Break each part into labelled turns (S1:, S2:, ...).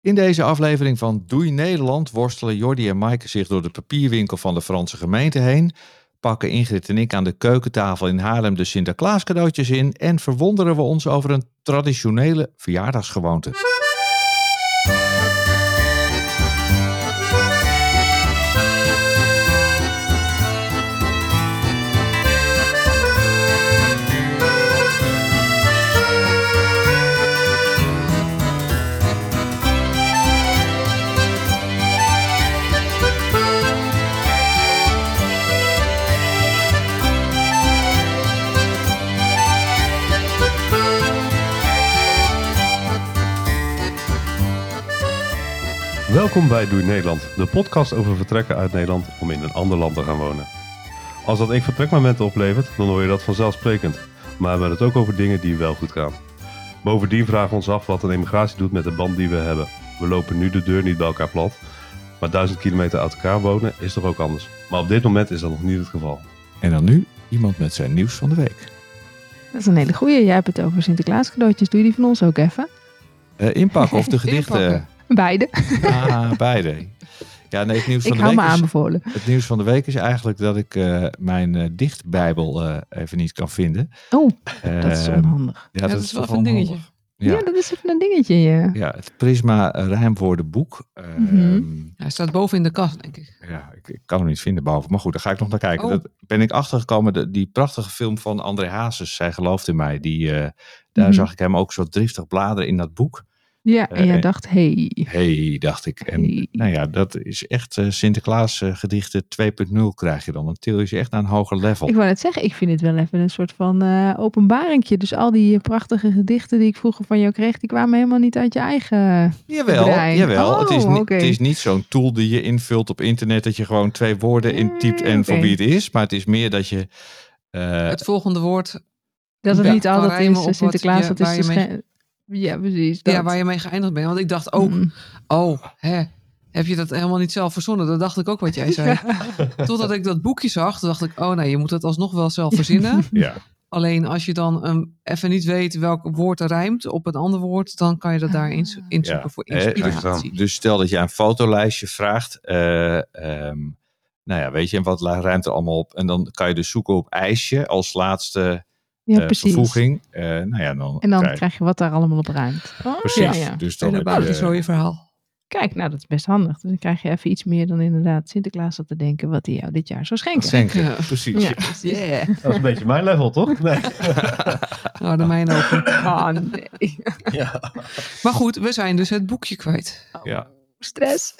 S1: In deze aflevering van Doei Nederland worstelen Jordi en Maaike zich door de papierwinkel van de Franse gemeente heen, pakken Ingrid en ik aan de keukentafel in Haarlem de Sinterklaas cadeautjes in en verwonderen we ons over een traditionele verjaardagsgewoonte.
S2: Welkom bij Doei Nederland, de podcast over vertrekken uit Nederland om in een ander land te gaan wonen. Als dat één vertrekmoment oplevert, dan hoor je dat vanzelfsprekend. Maar we hebben het ook over dingen die wel goed gaan. Bovendien vragen we ons af wat een immigratie doet met de band die we hebben. We lopen nu de deur niet bij elkaar plat, maar duizend kilometer uit elkaar wonen is toch ook anders. Maar op dit moment is dat nog niet het geval.
S1: En dan nu iemand met zijn nieuws van de week.
S3: Dat is een hele goeie. Jij hebt het over Sinterklaas cadeautjes. Doe je die van ons ook even?
S1: Eh, inpakken of de gedichten?
S3: Inpakken. Beide.
S1: Ah, beide. Ja, nee, het nieuws van
S3: ik
S1: de
S3: hou me
S1: week is-
S3: aanbevolen.
S1: Het nieuws van de week is eigenlijk dat ik eh, mijn eh, dichtbijbel eh, even niet kan vinden.
S3: Oh, dat is
S1: Eh,
S3: onhandig.
S1: ja,
S4: Ja, dat is wel even een dingetje.
S1: onhandig.
S3: Ja.
S1: Ja,
S3: dat is even een dingetje. Ja.
S1: ja, het Prisma Rijmwoordenboek. Ehm,
S3: Mhm.
S4: Hij staat boven in de kast, denk ik.
S1: Ja, ik, ik kan hem niet vinden boven. Maar goed, daar ga ik nog naar kijken.
S4: Oh.
S1: Daar ben ik achtergekomen. De, die prachtige film van André Hazes, Zij gelooft in mij. Die, eh, daar
S3: Mhm.
S1: zag ik hem ook zo driftig bladeren in dat boek.
S3: Ja, en
S1: Eh,
S3: jij
S1: eh.
S3: dacht, hey.
S1: hey, dacht ik. En
S3: Hey.
S1: nou ja, dat is echt eh, Sinterklaas eh, gedichten 2.0 krijg je dan. Dan til je ze echt naar een hoger level.
S3: Ik wou net zeggen, ik vind het wel even een soort van eh openbaringje. Dus al die eh, prachtige gedichten die ik vroeger van jou kreeg, die kwamen helemaal niet uit je eigen...
S1: Jawel,
S3: brein.
S1: jawel. het, is
S3: Oh,
S1: niet,
S3: oké.
S1: het is niet zo'n tool die je invult op internet dat je gewoon twee woorden
S3: Mm,
S1: intypt en voor
S3: oké.
S1: wie het is. Maar het is meer dat je. eh,
S4: het volgende woord,
S3: Dat het
S4: Ja,
S3: niet
S4: kan
S3: altijd
S4: rijmen
S3: is
S4: op
S3: eh,
S4: wat
S3: Sinterklaas,
S4: je-
S3: dat is
S4: waar
S3: de
S4: je mee-
S3: sche- Ja, precies.
S4: ja,
S3: dat.
S4: waar je mee geëindigd bent. Want ik dacht ook,
S1: Mm-hmm.
S3: Mm.
S4: oh, hè, heb je dat helemaal niet zelf verzonnen? Dat dacht ik ook wat jij zei. Totdat ik dat boekje zag, toen dacht ik, oh nee, je moet dat alsnog wel zelf verzinnen.
S1: ja.
S4: Alleen als je dan ehm, even niet weet welk woord er rijmt op een ander woord, dan kan je dat daar ins- inzoeken
S1: Ah. Ja.
S4: voor
S1: Eh, daar is
S4: inspiratie.
S1: Dus stel dat je een fotolijstje vraagt. eh, ehm, nou ja, weet je, en wat la- ruimt er allemaal op? En dan kan je dus zoeken op ijsje als laatste
S3: Ja,
S1: eh,
S3: precies.
S1: vervoeging. Eh, nou ja, dan
S3: En dan
S1: krijg je-
S3: krijg je wat daar allemaal op ruimt. Oh, ja,
S1: Precies.
S3: ja.
S1: Dus dan
S4: en
S1: heb
S4: dan
S1: je,
S4: je zo je verhaal.
S3: Kijk, nou dat is best handig. Dus dan krijg je even iets meer dan inderdaad Sinterklaas zat te denken wat hij jou dit jaar zou
S1: dat
S3: schenken.
S1: schenken.
S4: Ja.
S1: Precies.
S3: Ja,
S1: ja.
S3: precies.
S4: Yeah.
S2: Dat is een beetje mijn level, toch? Nee.
S4: Nou, de mijne ook. niet.
S3: Ah, nee.
S2: Ja.
S4: Maar goed, we zijn dus het boekje kwijt.
S1: Ja.
S3: Stress.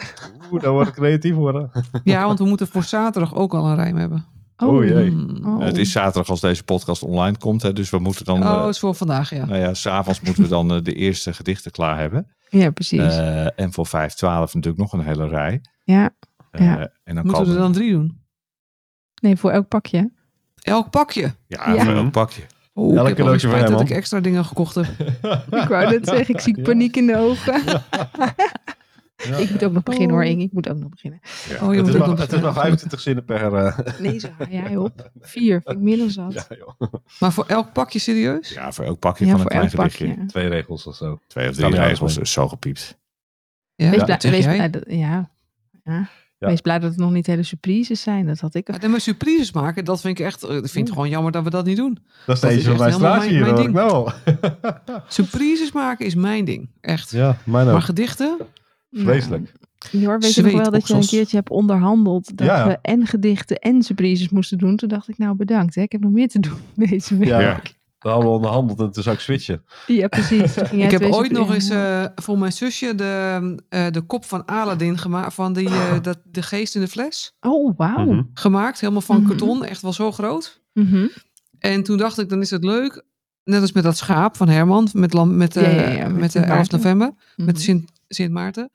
S2: Oeh, dan word ik creatief
S4: Oh,
S2: worden.
S4: Ja, want we moeten voor zaterdag ook al een rijm hebben.
S2: Oh, jee.
S4: Hmm.
S3: Oh.
S1: Het is zaterdag als deze podcast online komt. Hè, dus we moeten dan. eh,
S4: Oh, is voor vandaag, ja.
S1: Nou ja, s'avonds moeten we dan eh, de eerste gedichten klaar hebben.
S3: Ja, precies.
S1: Eh, en voor 5, 12 natuurlijk nog een hele rij.
S3: ja.
S1: Eh,
S3: Ja.
S1: En dan
S4: Moeten
S1: kan
S4: we er dan drie doen?
S3: Nee, voor elk pakje. hè?
S4: Elk pakje.
S1: Ja,
S3: Ja.
S1: voor een pakje.
S4: Oh,
S2: Elk
S4: ik heb
S2: cadeautje
S4: wel
S2: voor
S4: spijt
S2: hem,
S4: dat
S2: man.
S4: ik extra dingen gekocht heb.
S3: Ik wou dat zeggen, ik zie paniek in de ogen.
S2: Ja.
S3: Ik moet ook nog beginnen hoor, Inge. Ik moet ook nog beginnen.
S4: Oh, je
S2: het,
S4: moet
S2: is
S4: ook
S2: nog,
S4: nog
S2: het is nog 25 zinnen per... eh,
S3: Nee, zo haal jij op. Vier, vind ik meer dan zat. Ja,
S2: ja, joh.
S4: Maar voor elk pakje serieus?
S1: Ja, voor elk pakje van een
S3: voor
S1: klein
S3: elk
S1: gedichtje.
S3: pakje.
S2: Twee regels of zo.
S1: Twee of
S2: Kan
S1: drie
S2: niet
S1: regels,
S2: anders
S1: dus zo gepiept.
S4: Ja,
S3: Wees,
S4: dat
S3: blij,
S4: zeg
S3: wees,
S4: jij.
S3: blij dat, ja. Ja.
S2: Ja.
S3: wees blij dat het nog niet hele surprises zijn. Dat had ik
S4: Ja, maar surprises maken, dat vind ik echt... Ik vind het gewoon jammer dat we dat niet doen.
S2: Dat is
S4: Dat
S2: de
S4: is
S2: eentje van
S4: echt
S2: mijn
S4: helemaal
S2: straatje hier,
S4: mijn-
S2: hoor ik
S4: mijn
S2: wel.
S4: Surprises maken is mijn ding. Echt.
S2: Ja, mijn
S4: Maar
S2: ook.
S4: gedichten?
S2: Vreselijk.
S3: Jor, weet je nog wel dat je een
S4: Zweetoksels.
S3: keertje hebt onderhandeld dat
S2: Ja.
S3: we en gedichten en surprises moesten doen? Toen dacht ik, nou bedankt, hè. ik heb nog meer te doen deze week.
S2: Ja.
S3: Ja,
S2: We hadden we onderhandeld en toen zou ik switchen.
S3: precies. Toen ging jij
S4: Ik heb
S3: twee
S4: ooit nog eens
S3: surprises-
S4: eh, voor mijn zusje de, eh, de kop van Aladdin gemaakt. Van die, eh, dat, de geest in de fles
S3: Oh, wauw.
S2: Mhm.
S4: gemaakt. Helemaal van
S3: Mhm.
S4: karton. Echt wel zo groot.
S3: Mhm.
S4: En toen dacht ik, dan is het leuk. Net als met dat schaap van Herman, met, lam, met, eh,
S3: Ja, ja, ja, met
S4: met de
S3: Sint
S4: 11
S3: Maarten.
S4: november, met
S3: Mhm.
S4: Sint, Sint Maarten.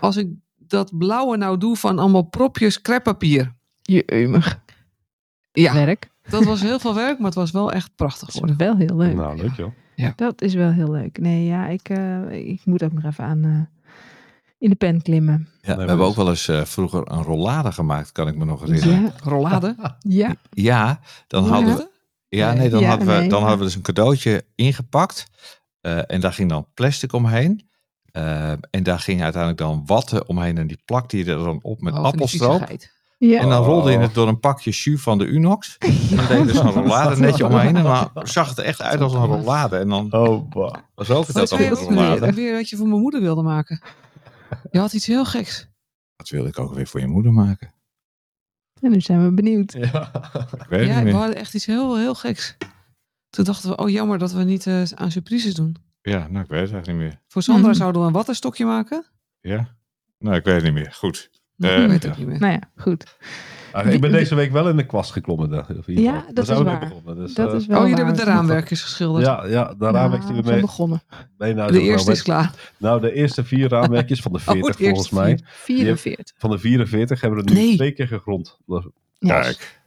S4: Als ik dat blauwe nou doe van allemaal propjes kreppapier.
S3: Je eumig
S4: Ja,
S3: werk.
S4: dat was heel veel werk, maar het was wel echt prachtig
S3: Dat is
S4: geworden.
S3: wel heel leuk.
S2: Nou, leuk joh.
S3: Dat is wel heel leuk. Nee, ja, ik, eh, ik moet ook nog even aan eh, in de pen klimmen.
S1: Ja, we
S2: maar
S1: hebben
S2: dat-
S1: ook wel eens eh, vroeger een rollade gemaakt, kan ik me nog herinneren.
S3: Ja,
S4: Rollade.
S3: ja.
S1: Ja, dan hadden we, ja, nee, dan
S3: Ja,
S1: hadden we,
S3: nee.
S1: dan hadden we dus een cadeautje ingepakt. eh, en daar ging dan plastic omheen. Eh, en daar ging uiteindelijk dan watten omheen en die plakte je er dan op met
S4: Oh, van die
S1: appelstroop.
S4: viezigheid.
S3: Ja.
S1: En dan
S2: Oh.
S1: rolde je het door een pakje jus van de Unox. En dan deed je dus een rollade netje omheen en dan zag het er echt uit als een rollade. En dan
S2: Oh, bah.
S1: was ook
S4: Dat
S1: het
S4: is
S1: ook een
S4: weer,
S1: rollade.
S4: weer, weer dat je voor mijn moeder wilde maken. Je had iets heel geks.
S1: Dat wilde ik ook weer voor je moeder maken.
S3: En nu zijn we benieuwd.
S2: Ja.
S1: Ik weet
S4: Ja,
S1: het
S4: we
S1: niet meer.
S4: hadden echt iets heel, heel geks. Toen dachten we, oh jammer dat we niet eh, aan surprises doen.
S1: Ja, nou ik weet het eigenlijk niet meer.
S4: Voor Sandra
S3: Mhm.
S4: zouden we een wattenstokje maken.
S1: Ja? Nou, ik weet het niet meer. Goed.
S4: Nou,
S1: Eh,
S4: ik weet het
S1: ja.
S4: ook niet meer.
S3: Nou ja, goed.
S2: Ah, ik ben deze week wel in de kwast geklommen. daar, in ieder geval.
S3: Ja,
S2: Daar
S3: dat
S2: zijn
S3: is
S2: we mee
S3: waar.
S2: begonnen, dus,
S3: dat
S2: eh,
S3: is wel
S4: oh, jullie
S3: waar.
S4: hebben de raamwerkers geschilderd.
S2: Ja, ja, de raamwerkjes die we
S3: Ja,
S2: mee,
S3: zijn begonnen.
S2: mee naar
S4: de eerste is klaar. Oh,
S2: Nou, de eerste vier raamwerkjes van de 40
S4: de eerste
S2: volgens mij.
S4: vier.
S3: 44.
S2: Van de 44 hebben we er nu
S4: Nee.
S2: twee keer gegrond. Dat is-
S3: Ja.
S1: Kijk.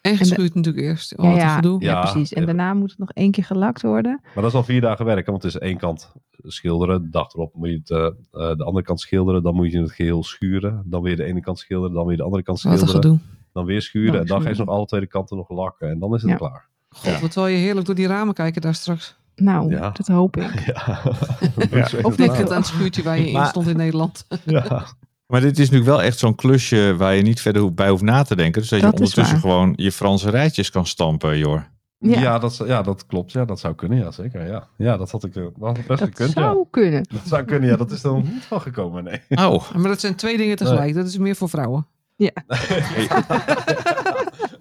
S4: En geschuurd natuurlijk eerst. Oh,
S3: Ja,
S4: wat een
S3: ja.
S4: gedoe.
S3: Ja,
S2: Ja,
S3: precies. En
S2: ja.
S3: daarna moet het nog één keer gelakt worden.
S2: Maar dat is al vier dagen werk, hè, want het is één kant schilderen. De dag erop moet je het, eh, eh, de andere kant schilderen. Dan moet je het geheel schuren. Dan weer de ene kant schilderen. Dan weer de andere kant
S4: Wat een
S2: schilderen.
S4: gedoe.
S2: Dan weer schuren.
S3: Nou,
S2: en dan ga je ze
S3: schuren.
S2: nog alle twee kanten nog lakken. En dan is het
S3: Ja.
S2: klaar.
S4: God,
S1: Ja.
S4: wat zal je heerlijk door die ramen kijken daar straks.
S3: Nou,
S2: Ja.
S3: dat hoop ik.
S2: Ja.
S3: Of
S4: Denk
S3: Nou.
S4: het aan het schuurtje waar je in
S1: Maar-
S4: stond in Nederland.
S2: Ja.
S1: Maar dit is natuurlijk wel echt zo'n klusje waar je niet verder ho- bij hoeft na te denken. Dus dat,
S3: Dat
S1: je
S3: is
S1: ondertussen
S3: waar.
S1: gewoon je Franse rijtjes kan stampen, joh.
S3: Ja.
S2: Ja, dat, zou- ja, dat klopt. Ja, dat zou kunnen. Ja, zeker. Ja, ja dat had ik eh, dat had ik best
S3: Dat
S2: gekund.
S3: zou
S2: Ja.
S3: kunnen.
S2: Dat zou kunnen. Ja, dat is er nog niet van gekomen. Nee.
S1: Oh,
S4: Maar dat zijn twee dingen tegelijk. Dat is meer voor vrouwen.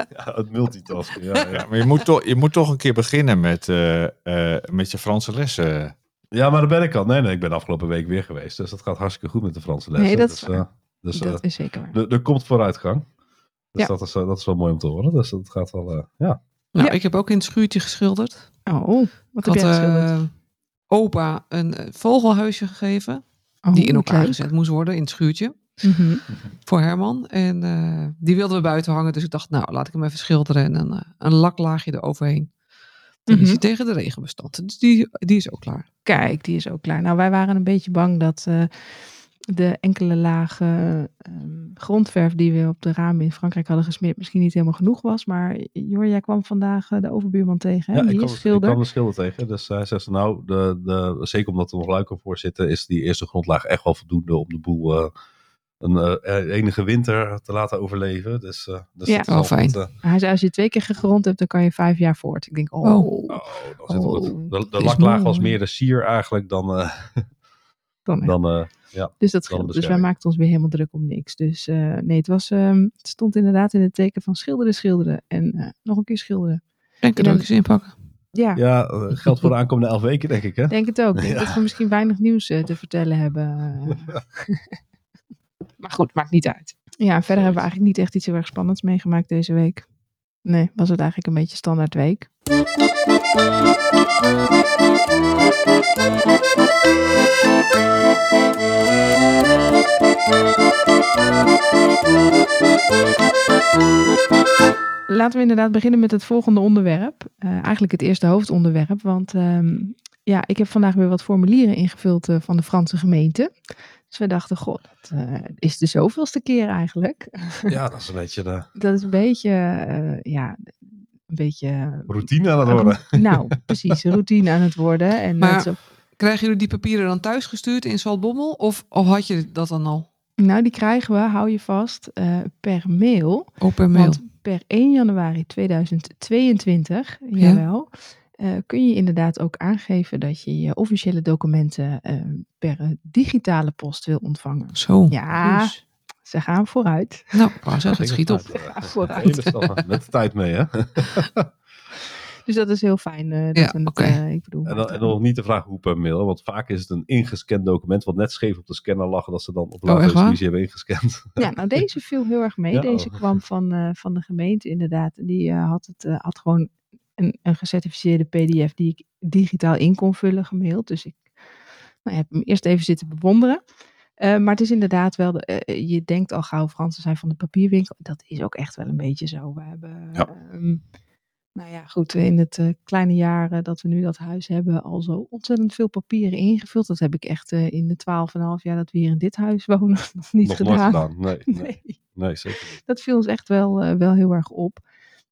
S2: Ja, het multitasken. Ja, ja.
S1: ja, maar je moet, toch, je moet toch een keer beginnen met, eh, eh, met je Franse lessen.
S2: Ja, maar daar ben ik al. Nee, nee, ik ben afgelopen week weer geweest. Dus dat gaat hartstikke goed met de Franse lessen.
S3: Nee, dat
S2: dus,
S3: is waar.
S2: eh, dus eh,
S3: dat is zeker waar.
S2: er- er komt vooruitgang. Dus
S3: Ja.
S2: dat, is, eh, dat is wel mooi om te horen. Dus dat gaat wel, eh, ja.
S4: Nou,
S3: Ja.
S4: ik heb ook in het schuurtje geschilderd.
S3: Oh, wat heb
S4: Ik
S3: jij
S4: had
S3: geschilderd?
S4: eh, opa een eh, vogelhuisje gegeven.
S3: Oh,
S4: die in
S3: wat
S4: elkaar
S3: leuk.
S4: gezet moest worden in het schuurtje.
S3: Mhm.
S4: Voor Herman. En eh, die wilden we buiten hangen. Dus ik dacht, nou, laat ik hem even schilderen. En een, eh, een laklaagje eroverheen. Dan is
S3: Mhm.
S4: hij tegen de regen bestand. Dus die, die is ook klaar.
S3: Kijk, die is ook klaar. Nou, wij waren een beetje bang dat eh, de enkele lagen ehm, grondverf die we op de ramen in Frankrijk hadden gesmeerd misschien niet helemaal genoeg was. Maar Jor, jij kwam vandaag eh, de overbuurman tegen, hè?
S2: ja ik,
S3: die
S2: kwam,
S3: is
S2: ik
S3: schilder.
S2: kwam de schilder tegen. Dus hij zegt, nou, de, de, zeker omdat er nog luiken voor zitten, is die eerste grondlaag echt wel voldoende om de boel eh, een eh, enige winter te laten overleven. Dus, eh, dus
S3: Ja.
S2: dat is
S4: Oh,
S2: al
S4: fijn.
S2: goed, eh.
S3: Hij zei, als je twee keer gegrond hebt, dan kan je vijf jaar voort. Ik denk, oh,
S2: oh, dan zit het
S3: Oh,
S2: goed. De, de
S4: is
S2: laklaag was
S4: mooi.
S2: meer de sier eigenlijk dan... eh,
S3: dan,
S2: dan eh,
S3: Dus dat
S2: Dan
S3: scheelt. Dus wij
S2: bescherming.
S3: maakten ons weer helemaal druk om niks. Dus eh, nee, het, was, ehm, het stond inderdaad in het teken van schilderen, schilderen. En eh, nog een keer schilderen.
S4: En cadeautjes inpakken.
S3: Ja,
S2: ja, eh, geldt voor de aankomende elf weken, denk ik, hè?
S3: denk het ook. Ik denk
S2: Ja.
S3: dat we misschien weinig nieuws eh, te vertellen hebben. maar goed, maakt niet uit. Ja, en verder hebben we eigenlijk niet echt iets heel erg spannends meegemaakt deze week. Nee, was het eigenlijk een beetje standaard week. Laten we inderdaad beginnen met het volgende onderwerp. Eh, eigenlijk het eerste hoofdonderwerp. Want ehm, ja, ik heb vandaag weer wat formulieren ingevuld eh, van de Franse gemeente. Dus we dachten, goh, dat eh, is de zoveelste keer eigenlijk.
S2: Ja, dat is een beetje de
S3: Dat is een beetje, eh, ja, een beetje...
S2: routine aan het worden.
S3: Nou, precies, routine aan het worden. En
S4: Maar-
S3: dat ze-
S4: Krijgen jullie die papieren dan thuis gestuurd in Zaltbommel? Of, of had je dat dan al?
S3: nou, die krijgen we, hou je vast, eh, per mail.
S4: Ook per mail.
S3: Want per 1 januari 2022, jawel, eh, kun je inderdaad ook aangeven dat je je officiële documenten eh, per eh, digitale post wil ontvangen.
S4: Zo.
S3: Ja,
S4: Dus-
S3: ze gaan vooruit.
S4: Nou, ik wou zeggen, het schiet op.
S3: Ja,
S2: Ja, eh,
S3: vooruit.
S2: hele stappen. Met de tijd mee, hè?
S3: Dus dat is heel fijn. eh, dat
S4: Ja,
S3: we het,
S4: oké.
S3: eh, ik bedoel,
S2: En dan, en dan nog niet de vraag hoe per mail, want vaak is het een ingescand document wat net scheef op de scanner lag en dat ze dan op lage
S4: echt waar?
S2: resolutie hebben ingescand.
S3: Ja, nou deze viel heel erg mee.
S2: Ja,
S3: Deze
S2: oh.
S3: kwam van, eh, van de gemeente inderdaad. En Die eh, had, het, eh, had gewoon een, een gecertificeerde pdf die ik digitaal in kon vullen gemaild. Dus ik nou, heb hem eerst even zitten bewonderen. Eh, maar het is inderdaad wel, de- eh, eh, je denkt al gauw Fransen zijn van de papierwinkel. Dat is ook echt wel een beetje zo. We hebben,
S2: Ja.
S3: ehm, nou ja, goed, in het eh, kleine jaar eh, dat we nu dat huis hebben, al zo ontzettend veel papieren ingevuld. Dat heb ik echt eh, in de twaalf en een half jaar dat we hier in dit huis wonen nog niet
S2: Nog nooit
S3: gedaan.
S2: gedaan. Nee, nee.
S3: Nee
S2: nee, zeker niet.
S3: dat viel ons echt wel, eh, wel heel erg op.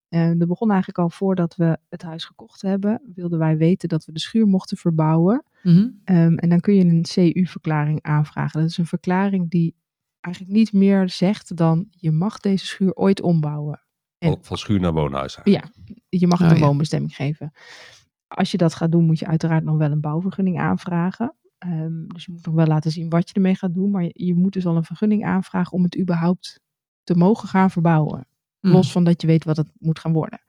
S3: En dat begon eigenlijk al voordat we het huis gekocht hebben. Wilden wij weten dat we de schuur mochten verbouwen.
S4: Mhm.
S3: Ehm, en dan kun je een CU-verklaring aanvragen. Dat is een verklaring die eigenlijk niet meer zegt dan je mag deze schuur ooit ombouwen. En-
S2: Van- Van schuur naar woonhuis eigenlijk.
S3: Je mag het
S4: Oh,
S3: een
S4: ja.
S3: woonbestemming geven. Als je dat gaat doen, moet je uiteraard nog wel een bouwvergunning aanvragen. Ehm, dus je moet nog wel laten zien wat je ermee gaat doen. Maar je, je moet dus al een vergunning aanvragen om het überhaupt te mogen gaan verbouwen.
S2: Hm.
S4: Mm.
S3: Los van dat je weet wat het moet gaan worden.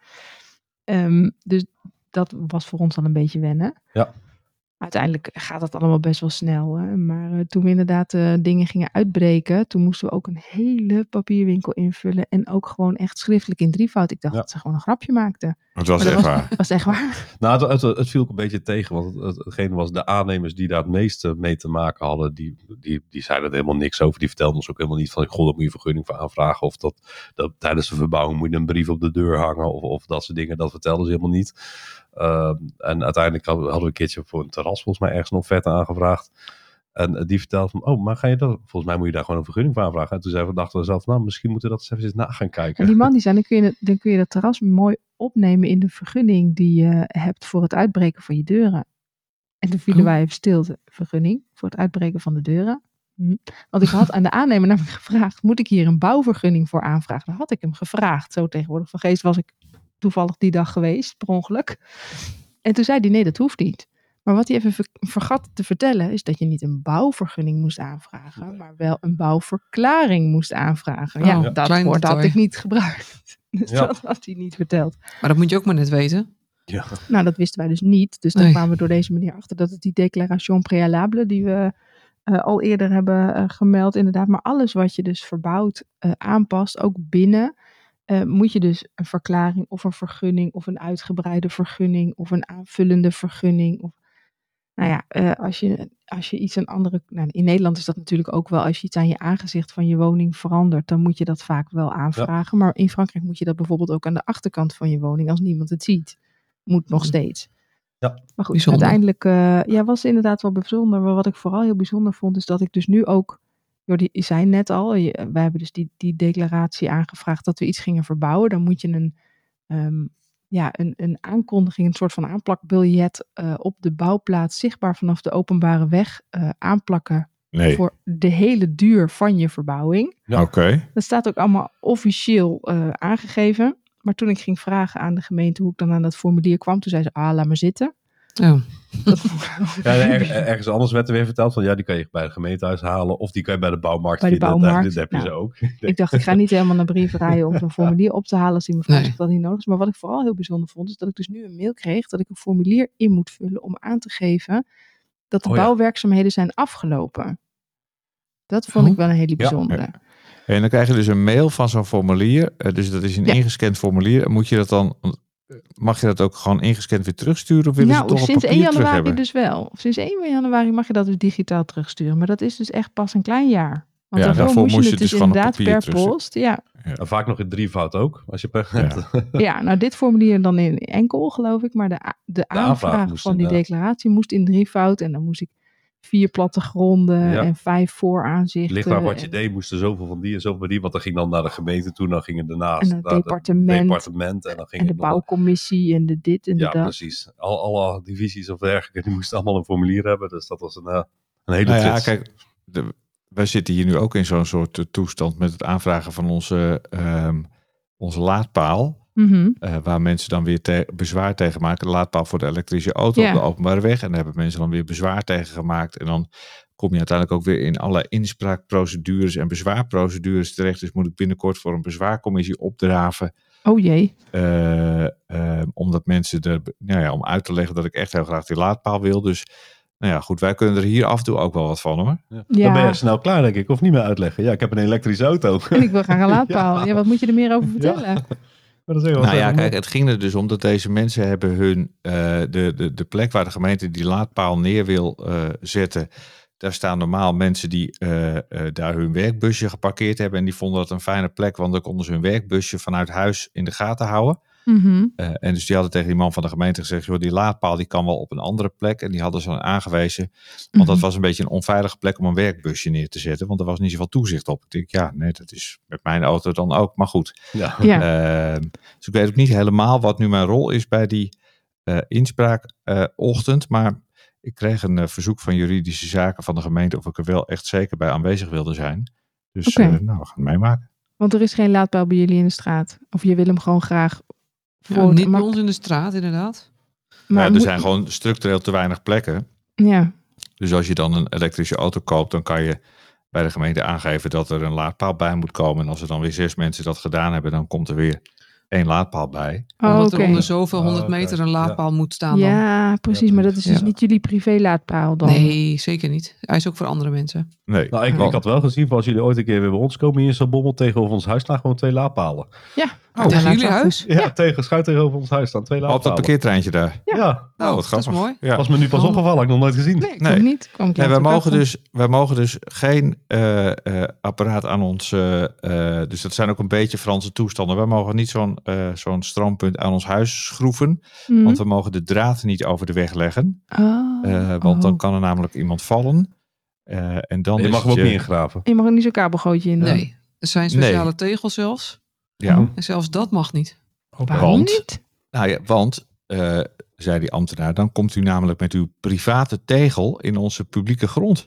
S3: Ehm, dus dat was voor ons al een beetje wennen.
S2: Ja.
S3: Uiteindelijk gaat dat allemaal best wel snel. Hè? Maar eh, toen we inderdaad eh, dingen gingen uitbreken, toen moesten we ook een hele papierwinkel invullen. En ook gewoon echt schriftelijk in drievoud. Ik dacht
S2: Ja.
S3: dat ze gewoon een grapje maakten.
S1: Het was
S3: Maar
S1: Oh, echt
S3: dat
S1: waar.
S3: Dat is echt waar.
S2: Nou, het, het, het viel ook een beetje tegen, want het, het- hetgeen was de aannemers die daar het meeste mee te maken hadden, die, die, die zeiden er helemaal niks over. Die vertelden ons ook helemaal niet van, goh, daar moet je vergunning voor aanvragen. Of dat, dat tijdens de verbouwing moet je een brief op de deur hangen. Of, of dat soort dingen, dat vertelden ze helemaal niet. Ehm, en uiteindelijk hadden we hadden we een keertje voor een terras volgens mij ergens een offerte aangevraagd. En eh, die vertelde van, oh, maar ga je dat, volgens mij moet je daar gewoon een vergunning voor aanvragen. En toen zeiden we, dachten we zelf, nou, misschien moeten we dat eens even na gaan kijken.
S3: En die man die zei, dan kun, je, dan kun je dat terras mooi opnemen in de vergunning die je hebt voor het uitbreken van je deuren. En toen vielen
S4: Oh.
S3: wij even stil, de vergunning voor het uitbreken van de deuren. Hm. Want ik had aan de aannemer namelijk gevraagd, moet ik hier een bouwvergunning voor aanvragen? Dat had ik hem gevraagd. Zo tegenwoordig van geest was ik toevallig die dag geweest, per ongeluk. En toen zei hij, nee, dat hoeft niet. Maar wat hij even ver- vergat te vertellen, is dat je niet een bouwvergunning moest aanvragen, maar wel een bouwverklaring moest aanvragen. ja,
S4: Oh,
S3: dat
S4: klein
S3: woord had
S4: detail.
S3: ik niet gebruikt. Dus
S2: Ja.
S3: dat had hij niet verteld.
S4: Maar dat moet je ook maar net weten.
S2: Ja.
S3: Nou, dat wisten wij dus niet. Dus daar
S4: Nee.
S3: kwamen we door deze manier achter dat het die declaration préalable die we eh, al eerder hebben eh, gemeld, inderdaad. Maar alles wat je dus verbouwt, eh, aanpast, ook binnen, eh, moet je dus een verklaring of een vergunning of een uitgebreide vergunning of een aanvullende vergunning. Of, nou ja, eh, als, je, als je iets aan andere. Nou, in Nederland is dat natuurlijk ook wel. Als je iets aan je aangezicht van je woning verandert, dan moet je dat vaak wel aanvragen. Maar in Frankrijk moet je dat bijvoorbeeld ook aan de achterkant van je woning, als niemand het ziet moet nog
S4: Mhm.
S3: steeds.
S2: Ja.
S3: maar goed,
S4: Bijzonder.
S3: uiteindelijk eh, ja, was inderdaad wel bijzonder. Maar wat ik vooral heel bijzonder vond, is dat ik dus nu ook, Jordi zei net al, je- wij hebben dus die, die declaratie aangevraagd dat we iets gingen verbouwen. Dan moet je een, ehm, ja, een, een aankondiging, een soort van aanplakbiljet eh, op de bouwplaats zichtbaar vanaf de openbare weg eh, aanplakken
S1: Nee,
S3: voor de hele duur van je verbouwing.
S1: oké.
S3: Dat staat ook allemaal officieel eh, aangegeven. Maar toen ik ging vragen aan de gemeente hoe ik dan aan dat formulier kwam, toen zei ze, ah, laat maar zitten.
S4: Ja.
S3: Dat vond ik wel-
S2: Ja, en er- ergens anders werd er weer verteld van ja, die kan je bij het gemeentehuis halen of die kan je bij de bouwmarkt
S3: Bij de
S2: vinden.
S3: bouwmarkt,
S2: Daar- dit heb je
S3: nou.
S2: ze ook.
S3: ik dacht, ik ga niet helemaal naar brievenrijen om zo'n formulier op te halen als die mevrouw
S4: Nee.
S3: zegt dat niet nodig is. Maar wat ik vooral heel bijzonder vond, is dat ik dus nu een mail kreeg dat ik een formulier in moet vullen om aan te geven dat de
S2: Oh ja.
S3: bouwwerkzaamheden zijn afgelopen. Dat vond
S4: Oh.
S3: ik wel een hele bijzondere.
S1: En dan krijg je dus een mail van zo'n formulier. Eh, dus dat is een
S3: Ja.
S1: ingescand formulier. En Moet je dat dan, eh, mag je dat ook gewoon ingescand weer terugsturen? Of willen ze
S3: Nou,
S1: het toch
S3: sinds
S1: op
S3: 1
S1: papier terug
S3: januari
S1: hebben?
S3: dus wel. Sinds 1 januari mag je dat dus digitaal terugsturen. Maar dat is dus echt pas een klein jaar. Want
S1: Ja,
S3: daarvoor
S1: daarvoor
S3: moest je
S1: moest
S3: het
S1: je
S3: dus,
S1: dus gewoon op
S3: inderdaad
S1: papier
S3: per
S1: terugsturen.
S3: post. Ja.
S2: En vaak nog in drievoud ook, als je pech
S1: Ja.
S2: hebt.
S3: ja, nou dit formulier dan in enkel geloof ik. Maar de, a- de,
S2: aanvraag
S3: aanvraag,
S2: moest
S3: van die
S2: inderdaad.
S3: declaratie moest in drievoud. En dan moest ik vier plattegronden
S2: Ja.
S3: en vijf vooraanzichten.
S2: Ligt maar wat je
S3: en-
S2: deed, moesten zoveel van die en zoveel van die. Want dan ging dan naar de gemeente toe, dan ging het daarnaast
S3: En het
S2: naar het
S3: departement.
S2: departement en dan ging
S3: En de
S2: het nog-
S3: bouwcommissie en de dit en de
S2: Ja,
S3: dat.
S2: precies. Al, alle divisies of dergelijke, die moesten allemaal een formulier hebben. Dus dat was een, eh, een hele
S1: Nou ja,
S2: trits.
S1: kijk, de- wij zitten hier nu ook in zo'n soort eh, toestand met het aanvragen van onze, ehm, onze laadpaal.
S3: Mhm.
S1: eh, waar mensen dan weer te- bezwaar tegen maken. De laadpaal voor de elektrische auto
S3: Ja.
S1: op de openbare weg. En daar hebben mensen dan weer bezwaar tegen gemaakt. En dan kom je uiteindelijk ook weer in allerlei inspraakprocedures en bezwaarprocedures terecht. Dus moet ik binnenkort voor een bezwaarcommissie opdraven.
S3: Oh jee.
S1: eh, eh, omdat mensen er, nou ja, om uit te leggen dat ik echt heel graag die laadpaal wil. Dus nou ja, goed, wij kunnen er hier af en toe ook wel wat van hoor.
S2: Ja.
S3: Ja.
S2: Dan ben je snel klaar, denk ik. Of niet meer uitleggen. Ja, ik heb een elektrische auto.
S3: En ik wil graag een laadpaal. Ja. wat moet je er meer over vertellen?
S2: Maar dat is heel wat
S1: Nou ja,
S2: even-
S1: kijk, het ging er dus om dat deze mensen hebben hun eh, de, de, de plek waar de gemeente die laadpaal neer wil eh, zetten. Daar staan normaal mensen die eh, eh, daar hun werkbusje geparkeerd hebben. En die vonden dat een fijne plek, want dan konden ze hun werkbusje vanuit huis in de gaten houden.
S3: Mhm.
S1: Eh, en dus die hadden tegen die man van de gemeente gezegd: joh, die laadpaal die kan wel op een andere plek. En die hadden ze dan aangewezen. Want dat
S3: Mhm.
S1: was een beetje een onveilige plek om een werkbusje neer te zetten. Want er was niet zoveel toezicht op. Ik denk, ja, nee, dat is met mijn auto dan ook. Maar goed.
S2: Ja.
S3: Ja.
S1: Ehm, dus ik weet ook niet helemaal wat nu mijn rol is bij die eh, inspraakochtend. maar ik kreeg een eh, verzoek van juridische zaken van de gemeente of ik er wel echt zeker bij aanwezig wilde zijn. Dus
S3: Oké.
S1: eh, nou, we gaan het meemaken.
S3: Want er is geen laadpaal bij jullie in de straat. Of je wil hem gewoon graag voor
S4: Ja, niet bij
S3: maar,
S4: ons in de straat, inderdaad.
S1: Maar er
S3: moet-
S1: zijn gewoon structureel te weinig plekken.
S3: Ja,
S1: Dus als je dan een elektrische auto koopt, dan kan je bij de gemeente aangeven dat er een laadpaal bij moet komen. En als er dan weer zes mensen dat gedaan hebben, dan komt er weer één laadpaal bij.
S3: oh,
S4: Omdat
S3: oké.
S4: er onder zoveel
S2: Oh,
S4: honderd
S2: oké.
S4: meter een laadpaal moet staan. Dan.
S3: Ja, precies.
S2: Ja,
S3: maar dat is dus
S4: ja.
S3: niet jullie privé laadpaal dan. Oh,
S4: Nee, zeker niet. Hij is ook voor andere mensen.
S1: Nee,
S2: Nou, ik,
S1: Want-
S2: ik had wel gezien, van als jullie ooit een keer weer bij ons komen hier in Zalbommel, tegenover ons huis staan gewoon twee laadpalen.
S3: Oh,
S4: Tegen
S3: laat
S4: jullie
S3: achter.
S4: huis?
S2: Ja, tegen, schuin tegenover ons huis staan twee
S1: op dat
S2: laadpalen.
S1: parkeertreintje daar.
S2: Ja,
S1: Oh, wat
S4: Nou, dat is
S1: grappig.
S4: mooi.
S1: Ja.
S2: was me nu pas
S4: Oh.
S2: opgevallen, had ik nog nooit gezien.
S3: Nee, ik
S1: Nee.
S3: ook niet. Kwam ik
S1: Nee, wij,
S3: laatst ook
S1: mogen
S3: achter.
S1: dus, wij mogen dus geen eh, eh, apparaat aan ons. eh, eh, dus dat zijn ook een beetje Franse toestanden. Wij mogen niet zo'n eh, zo'n stroompunt aan ons huis schroeven.
S3: Mhm.
S1: Want we mogen de draad niet over de weg leggen.
S3: Oh,
S1: eh, want dan
S3: oh.
S1: kan er namelijk iemand vallen. Eh, en dan
S2: je
S1: is
S2: mag hem
S1: het
S2: ook
S1: je-
S2: niet ingraven.
S3: Je mag er niet zo'n kabelgootje in doen.
S4: Nee. Er zijn speciale tegels zelfs.
S1: Ja,
S4: En zelfs dat mag niet.
S3: Oh. Waarom
S1: Want-
S3: niet?
S1: nou ja, want, eh, zei die ambtenaar, dan komt u namelijk met uw private tegel in onze publieke grond.